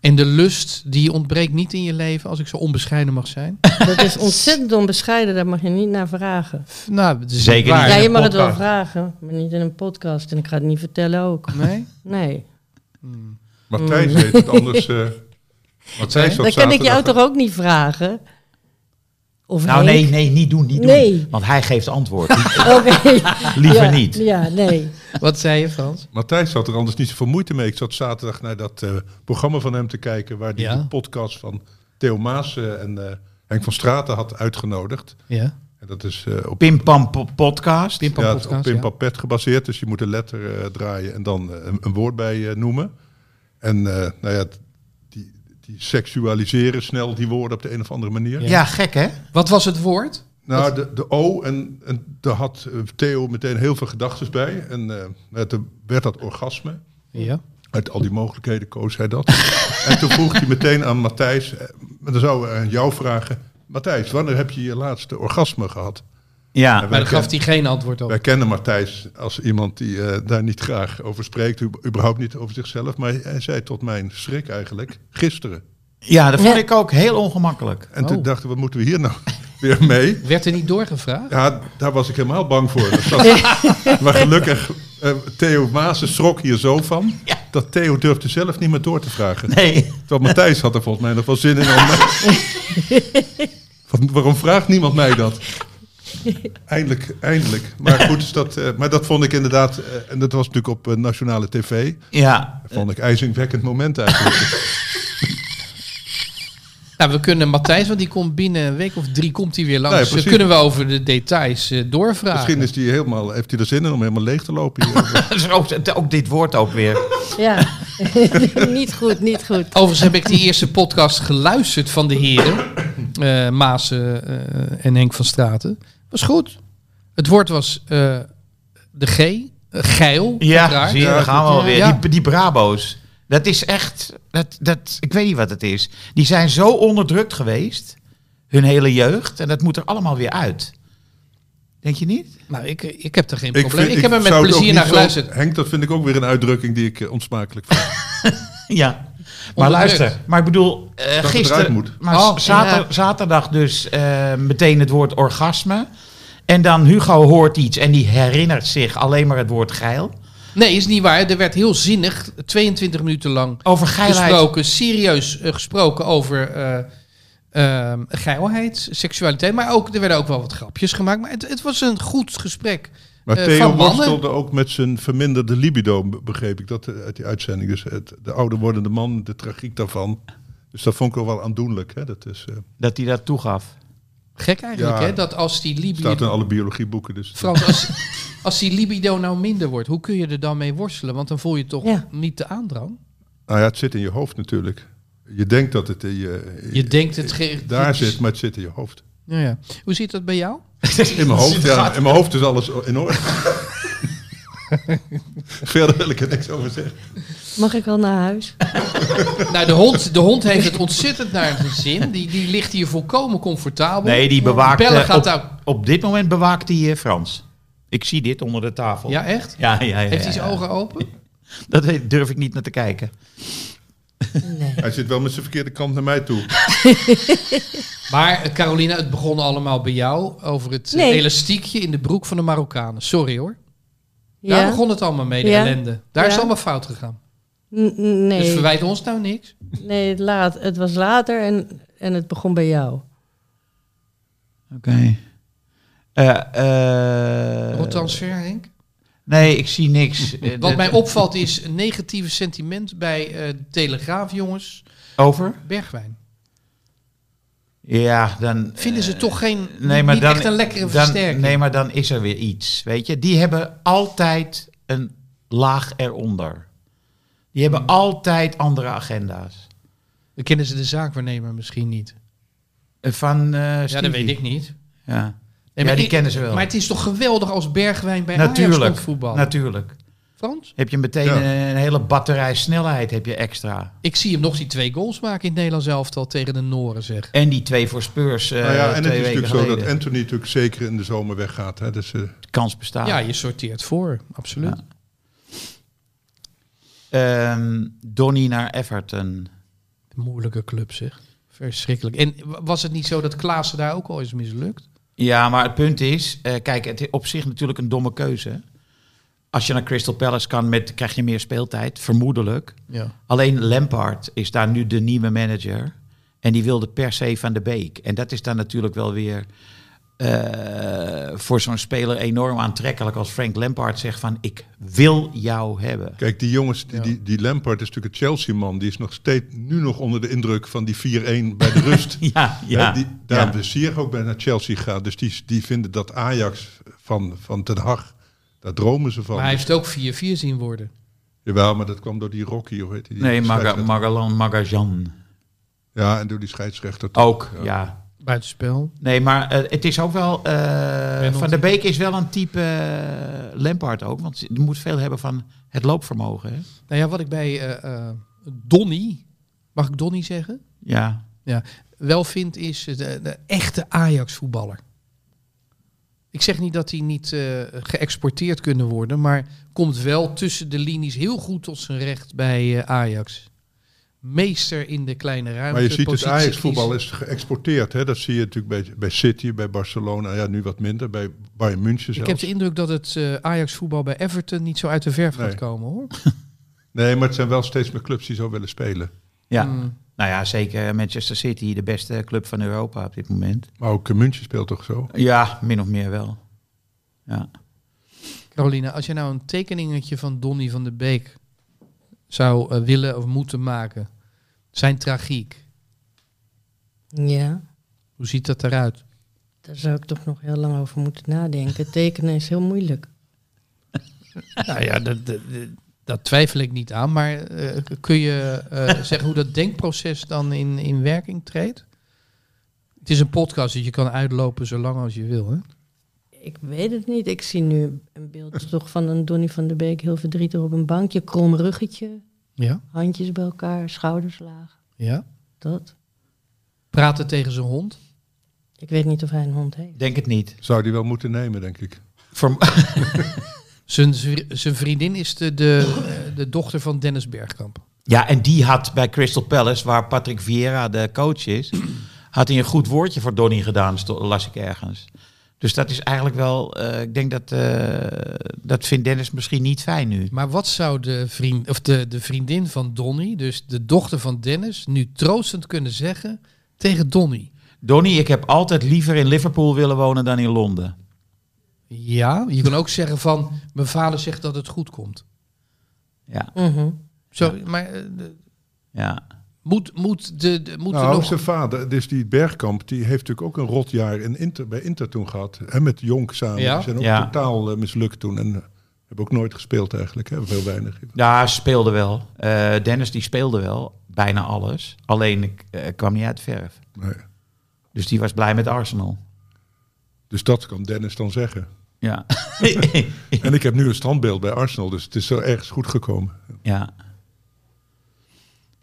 A: En de lust, die ontbreekt niet in je leven, als ik zo onbescheiden mag zijn?
E: Dat
A: <laughs>
E: is ontzettend onbescheiden, daar mag je niet naar vragen.
A: F- nou, dat is
C: Zeker
A: niet waar.
E: Ja,
C: in
E: je
C: een
E: mag het wel
C: podcast.
E: vragen, maar niet in een podcast. En ik ga het niet vertellen ook.
A: Nee?
E: Nee.
B: Matthijs
E: Mm.
B: heeft het
E: <laughs>
B: anders. eh Matthijs op
E: Dan kan ik jou
B: zaterdag-
E: toch ook niet vragen? Of
C: Nou
E: Henk?
C: nee, nee, niet doen, niet
E: Nee.
C: doen. Want hij geeft
E: <laughs>
C: antwoord.
E: Oké.
C: Liever
E: Ja,
C: niet.
E: Ja, nee.
A: Wat zei je, Frans?
B: Matthijs had er anders niet zoveel moeite mee. Ik zat zaterdag naar dat eh, programma van hem te kijken, waar hij
A: Ja.
B: de podcast van Theo Maas eh, en eh, Henk van Straten had uitgenodigd.
A: Ja.
B: En dat is eh, op
C: Pim Pam Po- Podcast.
A: Pimpa
B: ja, het is op
A: podcast.
B: Pim
A: ja.
B: Papet gebaseerd. Dus je moet een letter eh, draaien en dan eh, een, een woord bij eh, noemen. En eh, nou ja, t- die, die seksualiseren snel die woorden op de een of andere manier.
A: Ja.
C: Ja, gek hè?
A: Wat was het woord?
B: Nou, de, de O, en, en daar had eh, Theo meteen heel veel gedachten bij. En eh, het werd dat orgasme.
A: Ja.
B: Uit al die mogelijkheden koos hij
A: <laughs>
B: dat. en toen vroeg hij meteen aan Matthijs, eh, maar dan zou hij aan jou vragen... Matthijs, wanneer heb je je laatste orgasme gehad?
C: Ja.
A: Maar
B: Wij
A: daar gaf
B: ken-
A: hij geen antwoord op.
B: Wij kennen Matthijs als iemand die eh, daar niet graag over spreekt, u- überhaupt niet over zichzelf. Maar hij zei tot mijn schrik eigenlijk, gisteren.
C: Ja, dat vond
E: Ja.
C: ik ook heel ongemakkelijk.
B: En toen
A: Oh.
B: dachten we, wat moeten we hier nou <laughs> weer mee?
A: Werd er niet doorgevraagd?
B: Ja, daar was ik helemaal bang voor. Dat zat- maar gelukkig, eh, Theo Maassen schrok hier zo van, dat Theo durfde zelf niet meer door te vragen.
C: Nee.
B: Terwijl Matthijs had er volgens mij nog wel zin in.
A: <laughs>
B: Om... Van, waarom vraagt niemand mij dat? Eindelijk, eindelijk. Maar goed, dus dat, eh, maar dat vond ik inderdaad, eh, en dat was natuurlijk op eh, nationale tv, <laughs>
C: Ja.
B: vond
A: Eh.
B: ik ijzingwekkend moment eigenlijk.
A: Nou, we kunnen Matthijs, want die komt binnen een week of drie komt hij weer langs.
B: Nee,
A: Dus dan
B: precies.
A: kunnen we over de details eh, doorvragen.
B: Misschien is die helemaal, heeft hij er zin in om helemaal leeg te
A: <laughs>
B: lopen. Hier.
C: Zo, zit ook dit woord ook weer.
E: Ja. <laughs> niet goed, niet goed.
A: Overigens heb ik die eerste podcast geluisterd van de heren. eh Maasen eh, en Henk van Straten. Was goed. Het woord was eh, de G. eh, geil.
C: Ja,
A: uiteraard.
C: zie je, daar gaan we
E: Ja.
C: alweer.
A: Ja.
C: Die, die Brabo's. Dat is echt, dat, dat, ik weet niet wat het is. Die zijn zo onderdrukt geweest, hun hele jeugd. En dat moet er allemaal weer uit. Denk je niet?
A: Nou, ik, ik heb er geen
B: vind-
A: probleem. Ik, heb er met
B: zou het ook
A: plezier
B: niet
A: naar
B: zo-
A: geluisterd.
B: Henk, dat vind ik ook weer een uitdrukking die ik eh, onsmakelijk vind.
C: <laughs> Ja. Maar
A: Onderdrukt.
C: luister, maar ik bedoel, eh,
B: het eruit
C: gisteren,
B: moet.
C: maar
A: Oh,
C: zater-
A: ja.
C: zaterdag dus eh, meteen het woord orgasme. En dan Hugo hoort iets en die herinnert zich alleen maar het woord geil.
A: Nee, is niet waar. Er werd heel zinnig, 22 minuten lang
C: Over geilheid.
A: gesproken, serieus eh, gesproken over eh, ehm, geilheid, seksualiteit. Maar ook, er werden ook wel wat grapjes gemaakt. Maar het, het was een goed gesprek.
B: Maar
A: Eh,
B: Theo
A: van mannen?
B: worstelde ook met zijn verminderde libido, be- begreep ik dat eh, uit die uitzending. Dus het, de ouder wordende man, de tragiek daarvan. Dus dat vond ik wel wel aandoenlijk. Hè? Dat is, eh,
C: Dat hij dat toegaf.
A: Gek eigenlijk,
B: Ja.
A: hè? Dat als die
B: staat in
A: libido...
B: alle biologieboeken. Dus
A: Frans, als, als die libido nou minder wordt, hoe kun je er dan mee worstelen? Want dan voel je toch
E: Ja.
A: niet de aandrang?
B: Nou ja, het zit in je hoofd natuurlijk. Je denkt dat het in je, eh,
A: Je denkt het... ge-
B: daar
A: het is-
B: zit, maar het zit in je hoofd.
A: Ja, ja. Hoe zit dat bij jou?
B: In mijn
C: <laughs>
B: hoofd, ja, in mijn hoofd is alles in orde. <laughs> Verder wil ik er niks over zeggen.
E: Mag ik al naar huis?
A: Nou, de hond, de hond heeft het ontzettend naar zijn zin. Die, die ligt hier volkomen comfortabel.
C: Nee, die bewaakt.
A: Oh, Bellen
C: eh,
A: gaat
C: op,
A: daar-
C: op dit moment bewaakt hij eh, Frans. Ik zie dit onder de tafel.
A: Ja, echt?
C: ja, ja. ja,
A: Heeft hij
C: ja.
A: zijn ogen open?
C: Dat weet- durf ik niet naar te kijken.
E: Nee.
B: Hij zit wel met zijn verkeerde kant naar mij toe.
A: Maar eh, Carolina, het begon allemaal bij jou over het eh,
E: Nee.
A: elastiekje in de broek van de Marokkanen. Sorry hoor. Daar
E: Ja?
A: begon het allemaal mee, de
E: Ja.
A: ellende. Daar is het
E: Ja.
A: allemaal fout gegaan.
E: N- n- nee.
A: Dus verwijt ons nou niks.
E: Nee, het, laat, het was later en, en het begon bij jou.
C: Oké. Eh, eh,
A: Wat transfer, Henk?
C: Nee, ik zie
A: <laughs>
C: niks. Eh,
A: Wat
C: dat-
A: mij opvalt is een negatieve sentiment bij eh, de Telegraaf, jongens.
C: Over?
A: Bergwijn.
C: Ja, dan...
A: Vinden ze
C: eh,
A: toch geen,
C: nee,
A: dus
C: maar
A: niet
C: dan,
A: echt een lekkere
C: dan-
A: versterking?
C: Nee, maar dan is er weer iets, weet je. Die hebben altijd een laag eronder. Die hebben altijd andere agenda's.
A: Dan kennen ze de zaakwaarnemer misschien niet.
C: Eh, Van eh,
A: Ja,
C: Stevie.
A: dat weet ik niet.
C: Ja,
A: Nee,
C: Ja,
A: maar
C: die
A: ik-
C: kennen ze wel.
A: Maar het is toch geweldig als Bergwijn bij Ajax
C: natuurlijk.
A: komt voetballen?
C: Natuurlijk.
A: Frans?
C: Heb je meteen
B: Ja.
C: eh, een hele batterij snelheid heb je extra.
A: Ik zie hem nog die twee goals maken in het Nederlands elftal tegen de Noren, zeg.
C: En die twee voor Spurs eh,
B: nou ja, en het
C: twee
B: is
C: weken
B: natuurlijk zo
C: geleden.
B: dat Anthony natuurlijk zeker in de zomer weggaat. Hè? Dus, eh,
C: De kans bestaat.
A: Ja, je sorteert voor, absoluut.
C: Ehm, Donny naar Everton.
A: Moeilijke club, zeg. Verschrikkelijk. En w- was het niet zo dat Klaassen daar ook al is mislukt?
C: Ja, maar het punt is, eh, kijk, het is op zich natuurlijk een domme keuze. Als je naar Crystal Palace kan, met, krijg je meer speeltijd, vermoedelijk.
A: Ja.
C: Alleen Lampard is daar nu de nieuwe manager. En die wilde per se van de Beek. En dat is dan natuurlijk wel weer eh, voor zo'n speler enorm aantrekkelijk. Als Frank Lampard zegt van, ik wil jou hebben.
B: kijk, die jongens, die,
A: Ja.
B: die, die Lampard is natuurlijk een Chelsea-man. Die is nog steeds nu nog onder de indruk van die 4-1 bij de
C: <laughs>
B: rust.
C: <laughs> Ja,
B: Ja,
C: ja.
B: die, daarom
C: ja.
B: de Sier ook bij naar Chelsea gaat. Dus die, die vinden dat Ajax van, van Den Haag, daar dromen ze van.
A: Maar hij heeft ook 4-4 zien worden.
B: Jawel, maar dat kwam door die Rocky, hoe heet die? die
C: Nee, Maga,
B: scheidsrechter.
C: Magalan, Magajan
B: Ja, en door die scheidsrechter. toch?
C: ook, ja.
A: Buitenspel.
C: Nee, maar eh, het is ook wel. eh, van der Beek is wel een type eh, Lampard ook. Want die moet veel hebben van het loopvermogen. Hè?
A: Nou ja, wat ik bij eh, eh, Donny, mag ik Donny zeggen?
C: Ja.
A: Wel vind is de, de echte Ajax voetballer. Ik zeg niet dat die niet eh, geëxporteerd kunnen worden, maar komt wel tussen de linies heel goed tot zijn recht bij eh, Ajax. Meester in de kleine ruimte.
B: Maar je ziet het
A: positie
B: Ajax-voetbal
A: kiezen.
B: is geëxporteerd. Hè? Dat zie je natuurlijk bij, bij City, bij Barcelona. Ja, nu wat minder, bij Bayern München
A: Ik
B: zelfs.
A: heb de indruk dat het eh, Ajax-voetbal bij Everton niet zo uit de verf
B: Nee.
A: gaat komen, hoor.
B: Nee, maar het zijn wel steeds meer clubs die zo willen spelen.
C: ja.
A: Mm.
C: Nou ja, zeker Manchester City, de beste club van Europa op dit moment.
B: Maar ook eh, München speelt toch zo?
C: Ja, min of meer wel. Ja.
A: Carolina, als je nou een tekeningetje van Donny van de Beek zou eh, willen of moeten maken, zijn tragiek,
E: Ja,
A: hoe ziet dat eruit?
E: daar zou ik toch nog heel lang over moeten nadenken. Tekenen is heel moeilijk.
A: nou ja, dat, dat, dat twijfel ik niet aan, maar eh, kun je eh, <laughs> zeggen hoe dat denkproces dan in, in werking treedt? Het is een podcast, dus je kan uitlopen zo lang als je wil. Hè?
E: Ik weet het niet. Ik zie nu een beeld toch van een Donny van der Beek heel verdrietig op een bankje. Krom ruggetje,
A: Ja,
E: handjes bij elkaar, schouders laag.
A: ja.
E: Dat.
A: Praten tegen zijn hond.
E: Ik weet niet of hij een hond heeft.
C: Denk het niet.
B: Zou die wel moeten nemen, denk ik.
C: Voor,
A: Zijn, vri- zijn vriendin is de, de, eh, de dochter van Dennis Bergkamp.
C: ja, en die had bij Crystal Palace, waar Patrick Vieira de coach <clears throat> is, had hij een goed woordje voor Donny gedaan, sto- las ik ergens. Dus dat is eigenlijk wel, eh, ik denk dat, eh, dat vindt Dennis misschien niet fijn nu.
A: Maar wat zou de, vriend, of de, de vriendin van Donny, dus de dochter van Dennis, nu troostend kunnen zeggen tegen Donny?
C: Donny, ik heb altijd liever in Liverpool willen wonen dan in Londen.
A: Ja, je kan ook zeggen van, mijn vader zegt dat het goed komt.
C: Ja,
E: Mhm.
A: Zo, maar eh, de-
C: ja.
A: moet, moet, de, de- moet
B: Nou,
A: er nog...
B: zijn vader, dus die Bergkamp, die heeft natuurlijk ook een rotjaar in Inter, bij Inter toen gehad. Hè, met Jonk samen.
A: Ja.
B: Die zijn ook
C: Ja.
B: totaal eh, mislukt toen. En eh, hebben ook nooit gespeeld eigenlijk. Hè. Heel weinig.
C: ja ze speelde wel. Eh, Dennis die speelde wel, bijna alles. Alleen ik eh, kwam niet uit verf.
B: Nee.
C: Dus die was blij met Arsenal.
B: Dus dat kan Dennis dan zeggen.
C: Ja.
B: En ik heb nu een standbeeld bij Arsenal, dus het is zo ergens goed gekomen.
C: ja.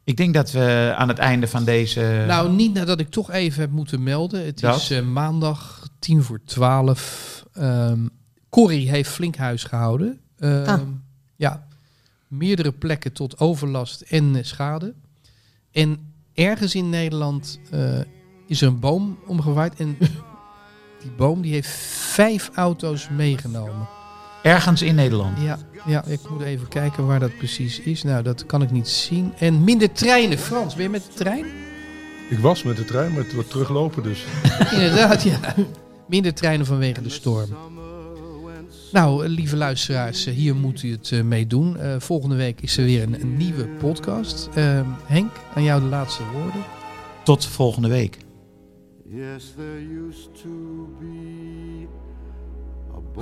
C: Ik denk dat we aan het einde van deze...
A: Nou, niet nadat ik toch even heb moeten melden. Het
C: Eh. Dat?
A: is eh, maandag, tien voor twaalf. Ehm Corrie heeft flink huis gehouden. Ehm,
E: Ah.
A: Ja, meerdere plekken tot overlast en eh, schade. En ergens in Nederland eh, is er een boom omgewaaid. En die boom die heeft vijf auto's meegenomen.
C: Ergens in Nederland.
A: Ja, ja, ik moet even kijken waar dat precies is. Nou, dat kan ik niet zien. En minder treinen, Frans. Ben je met de trein?
B: Ik was met de trein, maar het wordt teruglopen dus.
A: <laughs> Inderdaad, ja. Minder treinen vanwege de storm. Nou, eh, lieve luisteraars, eh, hier moet u het eh, mee doen. Eh, volgende week is er weer een, een nieuwe podcast. Eh, Henk, aan jou de laatste woorden.
C: Tot volgende week.
D: Yes, there used to be a boy